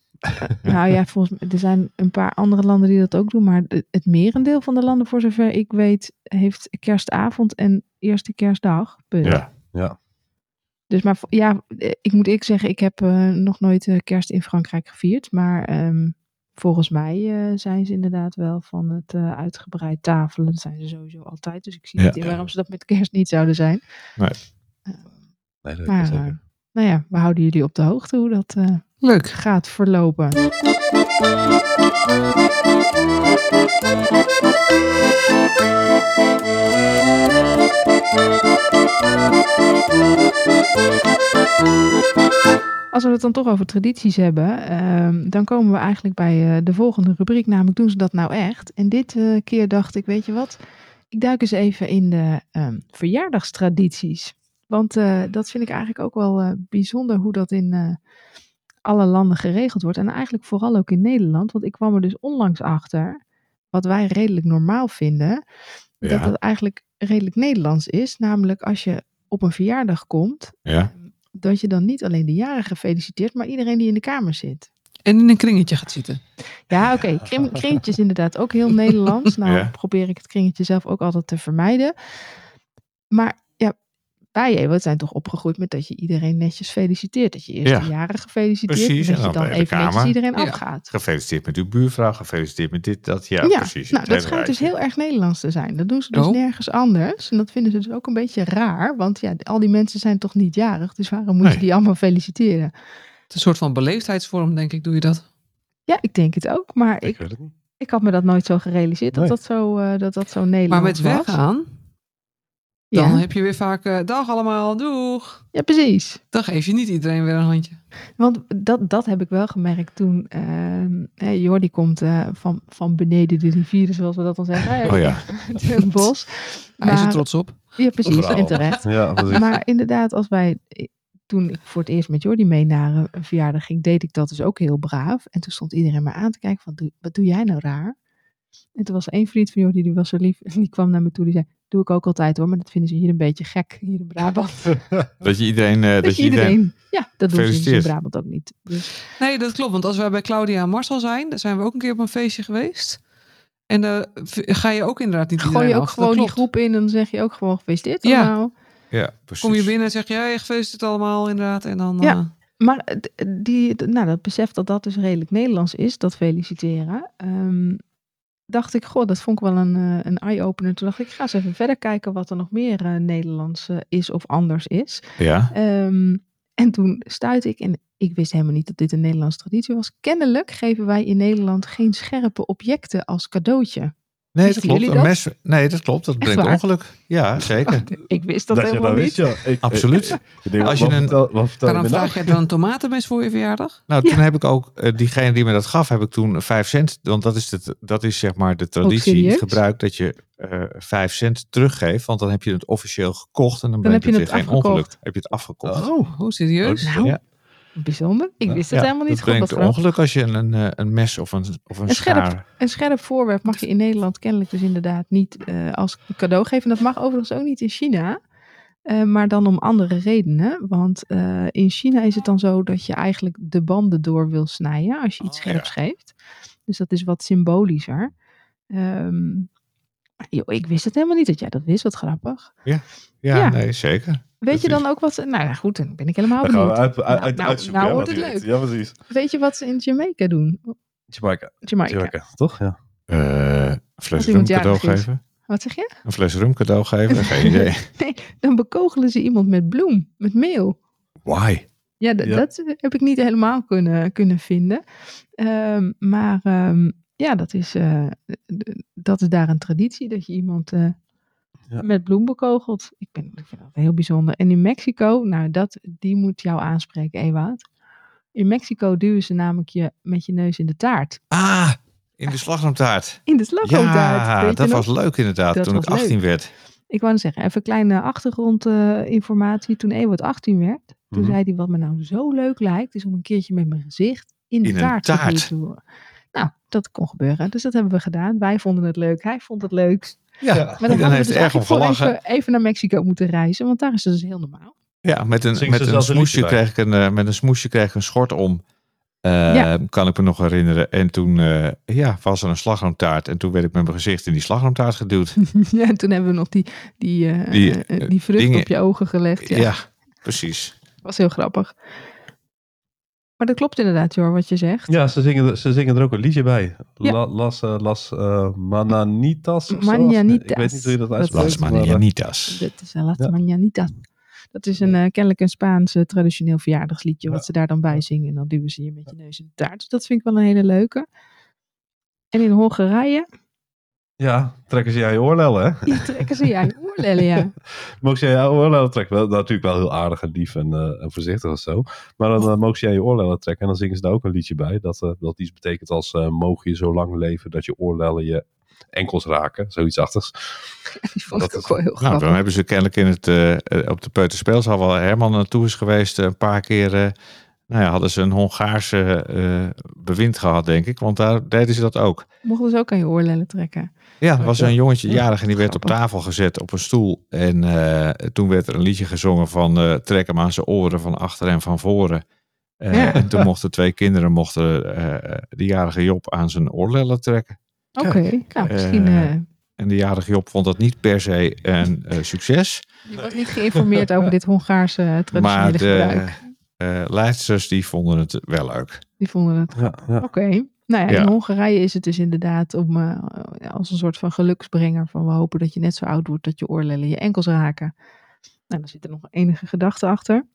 S3: Nou ja, volgens mij, er zijn een paar andere landen die dat ook doen. Maar de- het merendeel van de landen, voor zover ik weet, heeft kerstavond en eerste kerstdag. Punt.
S1: Ja.
S2: Ja.
S3: Dus maar vo- ja, eh, ik moet ik zeggen, ik heb eh, nog nooit eh, kerst in Frankrijk gevierd. Maar ehm, volgens mij eh, zijn ze inderdaad wel van het eh, uitgebreid tafelen. Dat zijn ze sowieso altijd. Dus ik zie
S1: Ja.
S3: niet in waarom ze dat met kerst niet zouden zijn.
S2: Nee, dat
S3: Maar,
S2: weet ik
S3: eh,
S2: zeker.
S3: nou ja, we houden jullie op de hoogte hoe dat eh,
S4: Leuk.
S3: gaat verlopen. Als we het dan toch over tradities hebben, ehm, dan komen we eigenlijk bij eh, de volgende rubriek, namelijk doen ze dat nou echt? En dit eh, keer dacht ik, weet je wat, ik duik eens even in de ehm, verjaardagstradities. Want eh, dat vind ik eigenlijk ook wel eh, bijzonder hoe dat in eh, alle landen geregeld wordt. En eigenlijk vooral ook in Nederland, want ik kwam er dus onlangs achter, wat wij redelijk normaal vinden, dat
S1: Ja,
S3: dat eigenlijk redelijk Nederlands is. Namelijk als je op een verjaardag komt,
S1: ja.
S3: dat je dan niet alleen de jarige feliciteert, maar iedereen die in de kamer zit.
S4: En in een kringetje gaat zitten.
S3: Ja, oké. Kring, kringetje is inderdaad ook heel Nederlands. Nou
S1: Ja.
S3: probeer ik het kringetje zelf ook altijd te vermijden. Maar ja, wij eh, we zijn toch opgegroeid met dat je iedereen netjes feliciteert. Dat je eerst
S1: Ja.
S3: de jarige feliciteert.
S1: Precies,
S3: En
S1: en
S3: dat
S1: dan
S3: je dan
S1: bij de
S3: even netjes
S1: kamer.
S3: iedereen
S4: Ja.
S3: afgaat.
S1: Gefeliciteerd met uw buurvrouw, gefeliciteerd met dit, dat. Ja, precies.
S3: Nou,
S1: Het
S3: dat
S1: hele
S3: schijnt dus
S1: rijtje.
S3: heel erg Nederlands te zijn. Dat doen ze dus
S4: Oh.
S3: nergens anders. En dat vinden ze dus ook een beetje raar. Want ja, al die mensen zijn toch niet jarig. Dus waarom moet
S1: Nee.
S3: je die allemaal feliciteren?
S4: Het is een soort van beleefdheidsvorm, denk ik, doe je dat.
S3: Ja, ik denk het ook. Maar ik,
S2: Ik weet het niet.
S3: Ik had me dat nooit zo gerealiseerd, dat
S2: Nee.
S3: dat zo, eh dat dat zo Nederlands
S4: Maar met
S3: was.
S4: weggaan, dan
S3: Ja.
S4: heb je weer vaak... eh, dag allemaal, doeg.
S3: ja, precies.
S4: Dan geef je niet iedereen weer een handje.
S3: Want dat, dat heb ik wel gemerkt toen ehm, hè, Jordi komt eh, van, van beneden de rivieren, zoals we dat dan zeggen. hè,
S1: Oh ja,
S3: uit het bos.
S4: Hij is er
S3: Maar-
S4: trots op.
S3: Ja, precies.
S2: Bravo.
S3: En terecht.
S2: Ja, precies.
S3: Maar inderdaad, als wij, eh, toen ik voor het eerst met Jordi mee naar een- een verjaardag ging, deed ik dat dus ook heel braaf. En toen stond iedereen me aan te kijken van, "Doe- wat doe jij nou raar? En toen was er één vriend van Jordi, die was zo lief, en die kwam naar me toe, die zei, doe ik ook altijd hoor, maar dat vinden ze hier een beetje gek, hier in Brabant.
S1: dat je iedereen... eh, dat
S3: Dat
S1: je iedereen...
S3: iedereen. Ja, dat doen ze dus in
S1: Gefeliciteerd.
S3: Brabant ook niet. Dus,
S4: Nee, dat klopt. Want als wij bij Claudia en Marcel zijn, daar zijn we ook een keer op een feestje geweest. En eh, v- ga je ook inderdaad niet
S3: gooi
S4: iedereen
S3: je ook
S4: af. Dat
S3: gewoon die
S4: klopt.
S3: groep in en dan zeg je ook gewoon gefeliciteerd
S4: Ja.
S3: allemaal.
S1: Ja, precies.
S4: Kom je binnen en zeg je, hey, gefeliciteerd allemaal, inderdaad. En dan,
S3: Ja.
S4: eh,
S3: Maar eh, d- die, d- nou, dat besef dat dat dus redelijk Nederlands is, dat feliciteren. ehm, dacht ik, goh, dat vond ik wel een, eh, een eye-opener. Toen dacht ik, ik ga eens even verder kijken wat er nog meer eh, Nederlands eh, is of anders is.
S1: Ja,
S3: Ehm, en toen stuitte ik, en ik wist helemaal niet dat dit een Nederlandse traditie was. Kennelijk geven wij in Nederland geen scherpe objecten als cadeautje.
S1: nee, dat
S3: Wisten
S1: klopt.
S3: jullie
S1: Een
S3: dat?
S1: mes... Nee, dat klopt. Dat brengt
S3: waar? Oh,
S1: ongeluk. Ja, zeker.
S3: Ik wist dat,
S2: je
S3: helemaal
S2: dat
S3: niet.
S2: wist, joh. Ik-
S1: Absoluut.
S2: ik- ik denk,
S1: Als
S2: wat
S1: je een-
S2: vertel- wat vertel je
S4: waarom
S2: me nou?
S4: vraag je dan een tomatenmes voor je verjaardag?
S1: Nou, toen heb ik ook, eh, diegene die me dat gaf, heb ik toen 5 cent. Want dat is, het, dat is zeg maar de traditie,
S3: serieus?
S1: het gebruik dat je eh 5 cent teruggeeft. Want dan heb je het officieel gekocht en dan,
S3: Dan
S1: brengt
S3: heb je
S1: het
S3: het
S1: weer geen
S3: afgekocht.
S1: ongeluk. Heb je het afgekocht.
S2: Oh,
S4: Oh, serieus?
S2: Oh,
S3: Nou,
S1: Ja.
S3: bijzonder. Ik
S2: Ja.
S3: wist het
S1: Ja,
S3: helemaal niet.
S1: dat
S3: God,
S1: brengt
S3: dat vrouw-
S1: ongeluk als je een, een, eh, een mes of een, of een
S3: Een scherp.
S1: schaar...
S3: Een scherp voorwerp mag je in Nederland kennelijk dus inderdaad niet eh, als cadeau geven. Dat mag overigens ook niet in China. eh, maar dan om andere redenen. Want eh, in China is het dan zo dat je eigenlijk de banden door wil snijden als je iets
S1: Oh, ja.
S3: scherps geeft. Dus dat is wat symbolischer. Ehm, maar joh, ik wist het helemaal niet dat jij dat wist. Wat grappig.
S1: Ja,
S3: Ja.
S1: nee, zeker.
S3: Weet je
S1: Precies.
S3: dan ook wat... Nou ja, goed, dan ben ik helemaal
S2: dan gaan we
S3: benieuwd.
S2: uit, uit,
S3: Nou, nou,
S2: uitzoeken.
S3: nou
S2: ja,
S3: wordt het
S2: natuurlijk.
S3: leuk.
S2: Ja, precies.
S3: Weet je wat ze in Jamaica doen?
S2: Jamaica.
S3: Jamaica.
S2: Jamaica, toch? Ja.
S1: Eh, een fles
S3: Als
S1: rum
S3: iemand
S1: cadeau
S3: jarig is.
S1: geven.
S3: Wat zeg je?
S1: Een fles rum cadeau geven. Geen idee.
S3: Dan bekogelen ze iemand met bloem, met meel.
S1: Why?
S3: Ja, d-
S2: Ja.
S3: dat heb ik niet helemaal kunnen, kunnen vinden. Ehm, maar ehm, ja, dat is, eh, d- dat is daar een traditie dat je iemand eh,
S2: Ja.
S3: met bloem bekogelt. Ik, ben, ik vind dat heel bijzonder. En in Mexico, nou, dat, die moet jou aanspreken, Ewout. In Mexico duwen ze namelijk je met je neus in de taart.
S1: Ah, in de slagroomtaart.
S3: In de slagroomtaart.
S1: Ja,
S3: weet je
S1: dat
S3: nog?
S1: was leuk inderdaad,
S3: Dat
S1: toen ik
S3: was leuk.
S1: 18 werd.
S3: Ik wou net zeggen, even kleine achtergrondinformatie. Toen Ewout 18 werd, toen
S2: Mhm.
S3: zei hij wat me nou zo leuk lijkt, is om een keertje met mijn gezicht in de
S1: In een
S3: taart, taart
S1: taart.
S3: geduwd te worden. Nou, dat kon gebeuren. Dus dat hebben we gedaan. Wij vonden het leuk. Hij vond het leuk.
S1: Ja,
S3: Maar dan
S1: iedereen
S3: hadden we
S1: heeft
S3: dus
S1: erg om
S3: eigenlijk gewoon
S1: gelachen.
S3: even, even naar Mexico moeten reizen, want daar is het dus heel normaal.
S1: Ja, met een,
S2: Zingen
S1: met
S2: ze
S1: een,
S2: zelfs een
S1: smoesje
S2: liedje bij.
S1: kreeg ik een, eh, met een smoesje kreeg ik een schort om. Eh,
S3: Ja.
S1: Kan ik me nog herinneren. En toen eh, ja, was er een slagroomtaart. En toen werd ik met mijn gezicht in die slagroomtaart geduwd.
S3: ja, en toen hebben we nog die, die, eh,
S1: Die,
S3: eh,
S1: eh,
S3: die vrucht
S1: dingen.
S3: op je ogen gelegd.
S1: Ja,
S3: Ja.
S1: precies.
S3: was heel grappig. Maar dat klopt inderdaad, Jor, wat je zegt.
S2: Ja, ze zingen, er- ze zingen er ook een liedje bij.
S3: Ja.
S2: La- las eh, las eh, Mananitas. of zo.
S3: Mananitas.
S2: Ik weet niet hoe je dat
S3: Dat
S2: uitspreekt.
S1: Las
S3: Las
S2: maar, eh,
S1: Manianitas.
S3: Dat is een laat
S2: Ja.
S3: manianitas. Dat is een, eh, kennelijk een Spaans eh, traditioneel verjaardagsliedje,
S2: Ja.
S3: wat ze daar dan bij zingen. En dan duwen ze je met je neus in de taart. Dus dat vind ik wel een hele leuke. En in Hongarije
S2: Ja, trekken ze jij je oorlellen, hè?
S3: die trekken ze jij oorlellen, ja.
S2: Mogen ze jij je oorlellen trekken? Wel, natuurlijk wel heel aardig en lief en, eh, en voorzichtig of zo. Maar dan eh, mogen ze jij je oorlellen trekken. En dan zingen ze daar ook een liedje bij. Dat, eh, dat iets betekent als eh mogen je zo lang leven dat je oorlellen je enkels raken. Zoiets achtigs.
S4: Die vond
S2: Dat
S4: ik ook
S2: is-
S4: wel heel
S1: Nou,
S4: grappig.
S1: dan hebben ze kennelijk in het, eh, eh, op de Peuterspeelzaal waar Herman naartoe is geweest eh, een paar keer. eh, nou ja, hadden ze een Hongaarse eh, bewind gehad, denk ik. Want daar deden ze dat ook.
S3: Mochten ze ook aan je oorlellen trekken.
S1: Ja, er was een jongetje, jarig, en die werd op
S3: Grappig.
S1: tafel gezet op een stoel. En eh, toen werd er een liedje gezongen van eh, trek hem aan zijn oren van achter en van voren. Eh,
S3: Ja.
S1: En toen mochten twee kinderen mochten, eh, de jarige Job aan zijn oorlellen trekken.
S3: Oké, nou misschien...
S1: Eh,
S3: eh,
S1: En de jarige Job vond dat niet per se een eh, succes.
S3: je was niet geïnformeerd over dit Hongaarse eh,
S1: Maar
S3: traditionele
S1: de
S3: gebruik.
S1: eh leidsters die vonden het wel leuk.
S3: Die vonden het
S2: Ja, ja.
S3: Oké. Nou ja,
S1: Ja.
S3: in Hongarije is het dus inderdaad om eh, als een soort van geluksbrenger van we hopen dat je net zo oud wordt dat je oorlellen je enkels raken. Nou, daar zit er nog enige gedachte achter.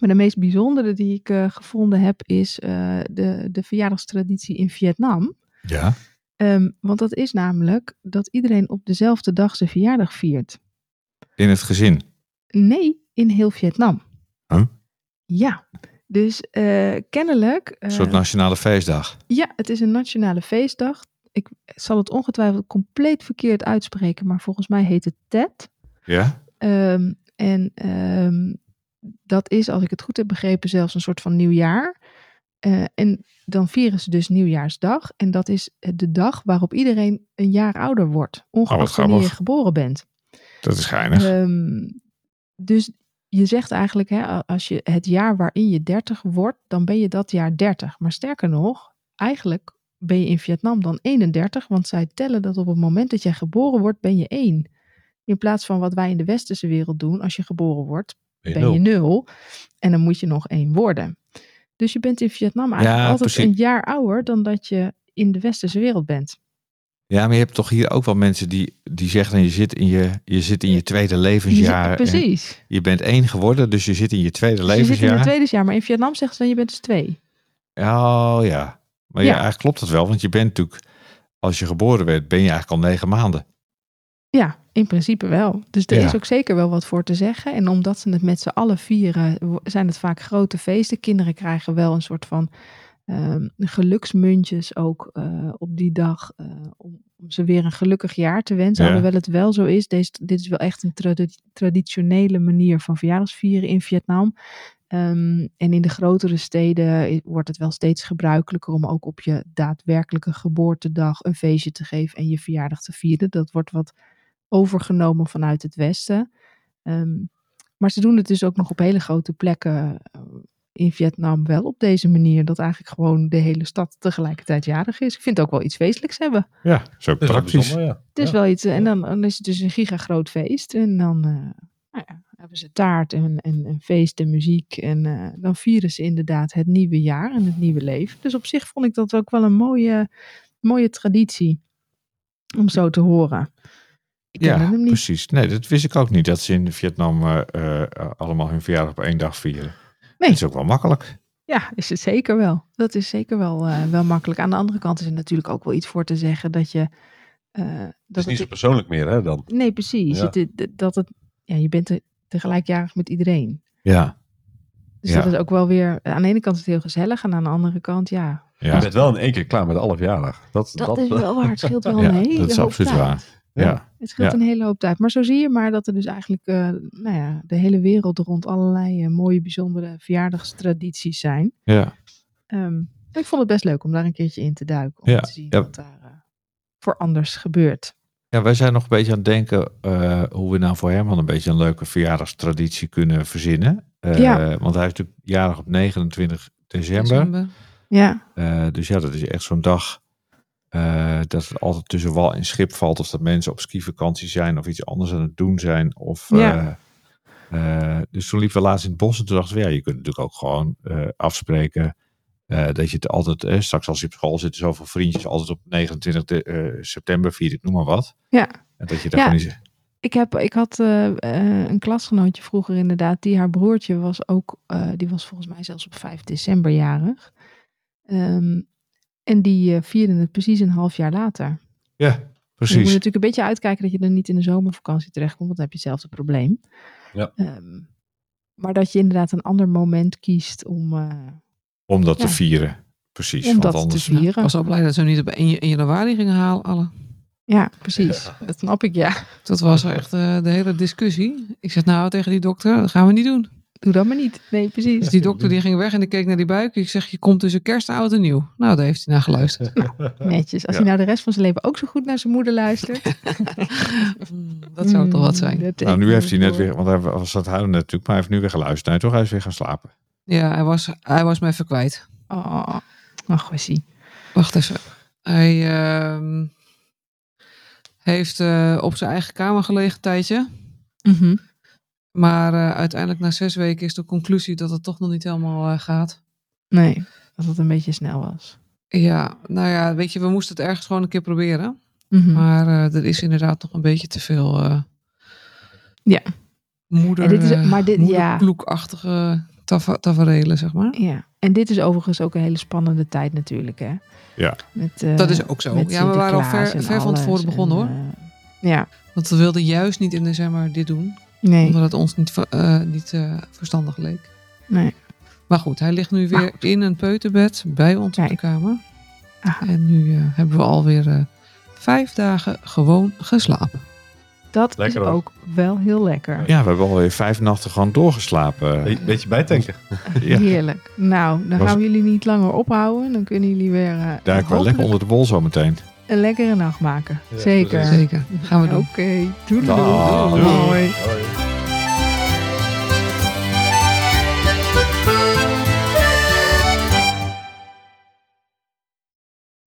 S3: Maar de meest bijzondere die ik eh, gevonden heb is eh, de, de verjaardagstraditie in Vietnam.
S1: Ja.
S3: Ehm, want dat is namelijk dat iedereen op dezelfde dag zijn verjaardag viert.
S1: In het gezin.
S3: Nee, in heel Vietnam.
S1: Huh?
S3: Ja, dus eh, kennelijk.
S1: Een soort
S3: eh,
S1: nationale feestdag.
S3: ja, het is een nationale feestdag. Ik zal het ongetwijfeld compleet verkeerd uitspreken, maar volgens mij heet het TED.
S1: Ja.
S3: Ehm, en ehm, dat is, als ik het goed heb begrepen, zelfs een soort van nieuwjaar. Eh, en dan vieren ze dus nieuwjaarsdag. En dat is eh, de dag waarop iedereen een jaar ouder wordt, ongeacht wanneer je
S1: grappig.
S3: geboren bent.
S1: Dat is geinig.
S3: Ehm, dus je zegt eigenlijk, hè, a- als je het jaar waarin je 30 wordt, dan ben je dat jaar 30. Maar sterker nog, eigenlijk ben je in Vietnam dan 31, want zij tellen dat op het moment dat jij geboren wordt, ben je 1. In plaats van wat wij in de westerse wereld doen, als je geboren wordt,
S2: Ben je
S3: ben je
S2: nul.
S3: 0 en dan moet je nog 1 worden. Dus je bent in Vietnam eigenlijk
S1: Ja,
S3: altijd
S1: precies.
S3: een jaar ouder dan dat je in de westerse wereld bent.
S1: Ja, maar je hebt toch hier ook wel mensen die, die zeggen: je zit, in je, je zit in je tweede levensjaar.
S3: Ja,
S1: en
S3: precies.
S1: Je bent één geworden, dus je zit in je tweede
S3: Dus je zit in
S1: levensjaar.
S3: het tweede jaar, maar in Vietnam zeggen ze dan je bent dus twee.
S1: Oh ja. Maar ja.
S3: Ja.
S1: eigenlijk klopt dat wel, want je bent natuurlijk, als je geboren werd, ben je eigenlijk al negen maanden.
S3: Ja, in principe wel. Dus er
S1: Ja.
S3: is ook zeker wel wat voor te zeggen. En omdat ze het met z'n allen vieren, wo- zijn het vaak grote feesten. Kinderen krijgen wel een soort van ehm, geluksmuntjes ook eh, op die dag. eh, om, om ze weer een gelukkig jaar te wensen.
S1: Ja.
S3: Alhoewel het wel zo is. Deze, dit is wel echt een tradi- traditionele manier van verjaardagsvieren in Vietnam. Ehm, en in de grotere steden i- wordt het wel steeds gebruikelijker om ook op je daadwerkelijke geboortedag een feestje te geven en je verjaardag te vieren. Dat wordt wat overgenomen vanuit het Westen. Ehm, maar ze doen het dus ook nog op hele grote plekken eh, in Vietnam wel op deze manier. Dat eigenlijk gewoon de hele stad tegelijkertijd jarig is. Ik vind het ook wel iets feestelijks hebben.
S1: Ja, zo
S2: Dat is wel
S1: praktisch.
S2: bijzonder, ja.
S3: Het is
S2: Ja.
S3: wel iets, eh, en dan, dan is het dus een gigagroot feest. En dan eh, nou ja, hebben ze taart en, en, en feest en muziek. En eh, dan vieren ze inderdaad het nieuwe jaar en het nieuwe leven. Dus op zich vond ik dat ook wel een mooie, mooie traditie om zo te horen. Ik ken
S1: Ja,
S3: hem niet.
S1: precies. Nee, dat wist ik ook niet, dat ze in Vietnam eh, eh, eh, allemaal hun verjaardag op één dag vieren.
S3: Nee.
S1: Dat is ook wel makkelijk.
S3: Ja, is het zeker wel. Dat is zeker wel, eh, wel makkelijk. Aan de andere kant is er natuurlijk ook wel iets voor te zeggen dat je. eh,
S2: Het is
S3: dat
S2: niet zo
S3: het-
S2: persoonlijk meer, hè, dan.
S3: nee, precies.
S2: Ja.
S3: Het- het- dat het, ja, je bent te- tegelijkjarig met iedereen.
S1: Ja.
S3: Dus
S1: Ja.
S3: dat is ook wel weer. Aan de ene kant is het heel gezellig. En aan de andere kant, ja.
S2: Je
S1: Ja.
S2: bent wel in één keer klaar met alle verjaardag. Dat, eh,
S3: Dat, is wel waar. Het scheelt wel
S1: Ja,
S3: een hele
S1: dat is
S3: hoop
S1: absoluut
S3: tijd.
S1: waar. Ja.
S3: Het scheelt
S1: Ja.
S3: een hele hoop tijd. Maar zo zie je maar dat er dus eigenlijk eh, nou ja, de hele wereld rond allerlei eh, mooie, bijzondere verjaardagstradities zijn.
S1: ja.
S3: Ehm, en ik vond het best leuk om daar een keertje in te duiken. Om
S1: Ja,
S3: te zien
S1: ja.
S3: wat daar eh, voor anders gebeurt.
S1: Ja, wij zijn nog een beetje aan het denken eh, hoe we nou voor Herman een beetje een leuke verjaardagstraditie kunnen verzinnen. Eh,
S3: Ja.
S1: Want hij is natuurlijk jarig op 29 december.
S4: December.
S3: Ja,
S1: Eh, dus ja, dat is echt zo'n dag eh, dat het altijd tussen wal en schip valt. Of dat mensen op skivakantie zijn of iets anders aan het doen zijn. Of,
S3: Ja.
S1: eh, eh, dus toen liepen we laatst in het bos en toen dachten we, ja, je kunt natuurlijk ook gewoon eh, afspreken. eh, dat je het altijd, eh, straks als je op school zit, zoveel vriendjes altijd op 29 de- eh, september viert, ik noem maar wat.
S3: Ja.
S1: En dat je daar
S3: Ja.
S1: gewoon niet-
S3: Ik, heb, ik had eh, eh, een klasgenootje vroeger inderdaad, die haar broertje was ook, eh, die was volgens mij zelfs op 5 december jarig. Ehm, en die eh, vierde het precies een half jaar later.
S1: Ja,
S3: Je moet
S1: precies.
S3: natuurlijk een beetje uitkijken dat je er niet in de zomervakantie terechtkomt, want dan heb je hetzelfde probleem.
S2: Ja.
S3: Ehm, maar dat je inderdaad een ander moment kiest om, eh,
S1: Om dat te
S3: Ja.
S1: vieren. Precies.
S3: om
S1: want
S3: dat
S1: anders
S3: te vieren.
S4: Nou, was wel blij dat ze hem niet op 1 in januari gingen halen. alle.
S3: Ja, precies. Dat snap ik, ja.
S4: Dat was echt eh, de hele discussie. Ik zeg nou tegen die dokter, dat gaan we niet doen.
S3: Doe dat maar niet. Nee, precies.
S4: Dus die dokter die ging weg en ik keek naar die buik. Ik zeg, je komt tussen kerst en oud en nieuw. Nou, daar heeft hij naar geluisterd.
S3: Netjes. Als
S1: Ja.
S3: hij nou de rest van zijn leven ook zo goed naar zijn moeder luistert.
S4: Mm, dat zou toch wat zijn.
S1: Nou, nu heeft hij net weer, want hij was dat huilen natuurlijk, maar hij heeft nu weer geluisterd. Nee, toch? Hij is weer gaan slapen.
S4: Ja, hij was, hij was me even kwijt.
S3: Oh, ach, was hij.
S4: Wacht even. Hij ehm, heeft eh, op zijn eigen kamer gelegen een tijdje.
S3: Mhm.
S4: Maar eh, uiteindelijk na zes weken is de conclusie dat het toch nog niet helemaal eh, gaat.
S3: Nee, dat het een beetje snel was.
S4: Ja, nou ja, weet je, we moesten het ergens gewoon een keer proberen.
S3: Mhm.
S4: Maar eh, er is inderdaad nog een beetje te veel eh,
S3: Ja.
S4: moeder,
S3: En dit is-
S4: eh,
S3: maar dit- ja.
S4: moederkloekachtige tava- taferelen, zeg maar.
S3: Ja. En dit is overigens ook een hele spannende tijd natuurlijk, hè?
S1: Ja.
S3: Met, eh,
S4: Dat is ook zo.
S3: met
S4: Ja, we waren al
S3: Sinterklaas
S4: ver,
S3: en
S4: ver van
S3: alles
S4: tevoren begonnen
S3: en,
S4: hoor.
S3: eh, ja,
S4: Want we wilden juist niet in december dit doen.
S3: nee.
S4: Omdat het ons niet, ver- eh, niet eh, verstandig leek.
S3: Nee.
S4: Maar goed, hij ligt nu
S3: Maar
S4: weer in een peuterbed bij ons op de
S3: Kijk.
S4: kamer.
S3: Aha.
S4: En nu eh, hebben we alweer eh, vijf dagen gewoon geslapen.
S3: Dat
S2: Lekker
S3: is
S2: hoor.
S3: ook wel heel lekker.
S1: Ja, we hebben alweer vijf nachten gewoon doorgeslapen.
S2: Be- beetje bijtanken.
S1: Ja,
S3: Heerlijk. Nou, dan
S1: Was-
S3: gaan we jullie niet langer ophouden. Dan kunnen jullie weer eh,
S1: daar kwam
S3: hopelijk
S1: lekker onder de wol zo meteen.
S3: een lekkere nacht maken.
S2: Ja,
S3: Zeker.
S2: precies.
S4: Zeker, gaan we
S3: Oké,
S4: doen.
S3: doei. doei.
S1: Dag.
S2: Doei.
S3: Doei.
S2: Hoi.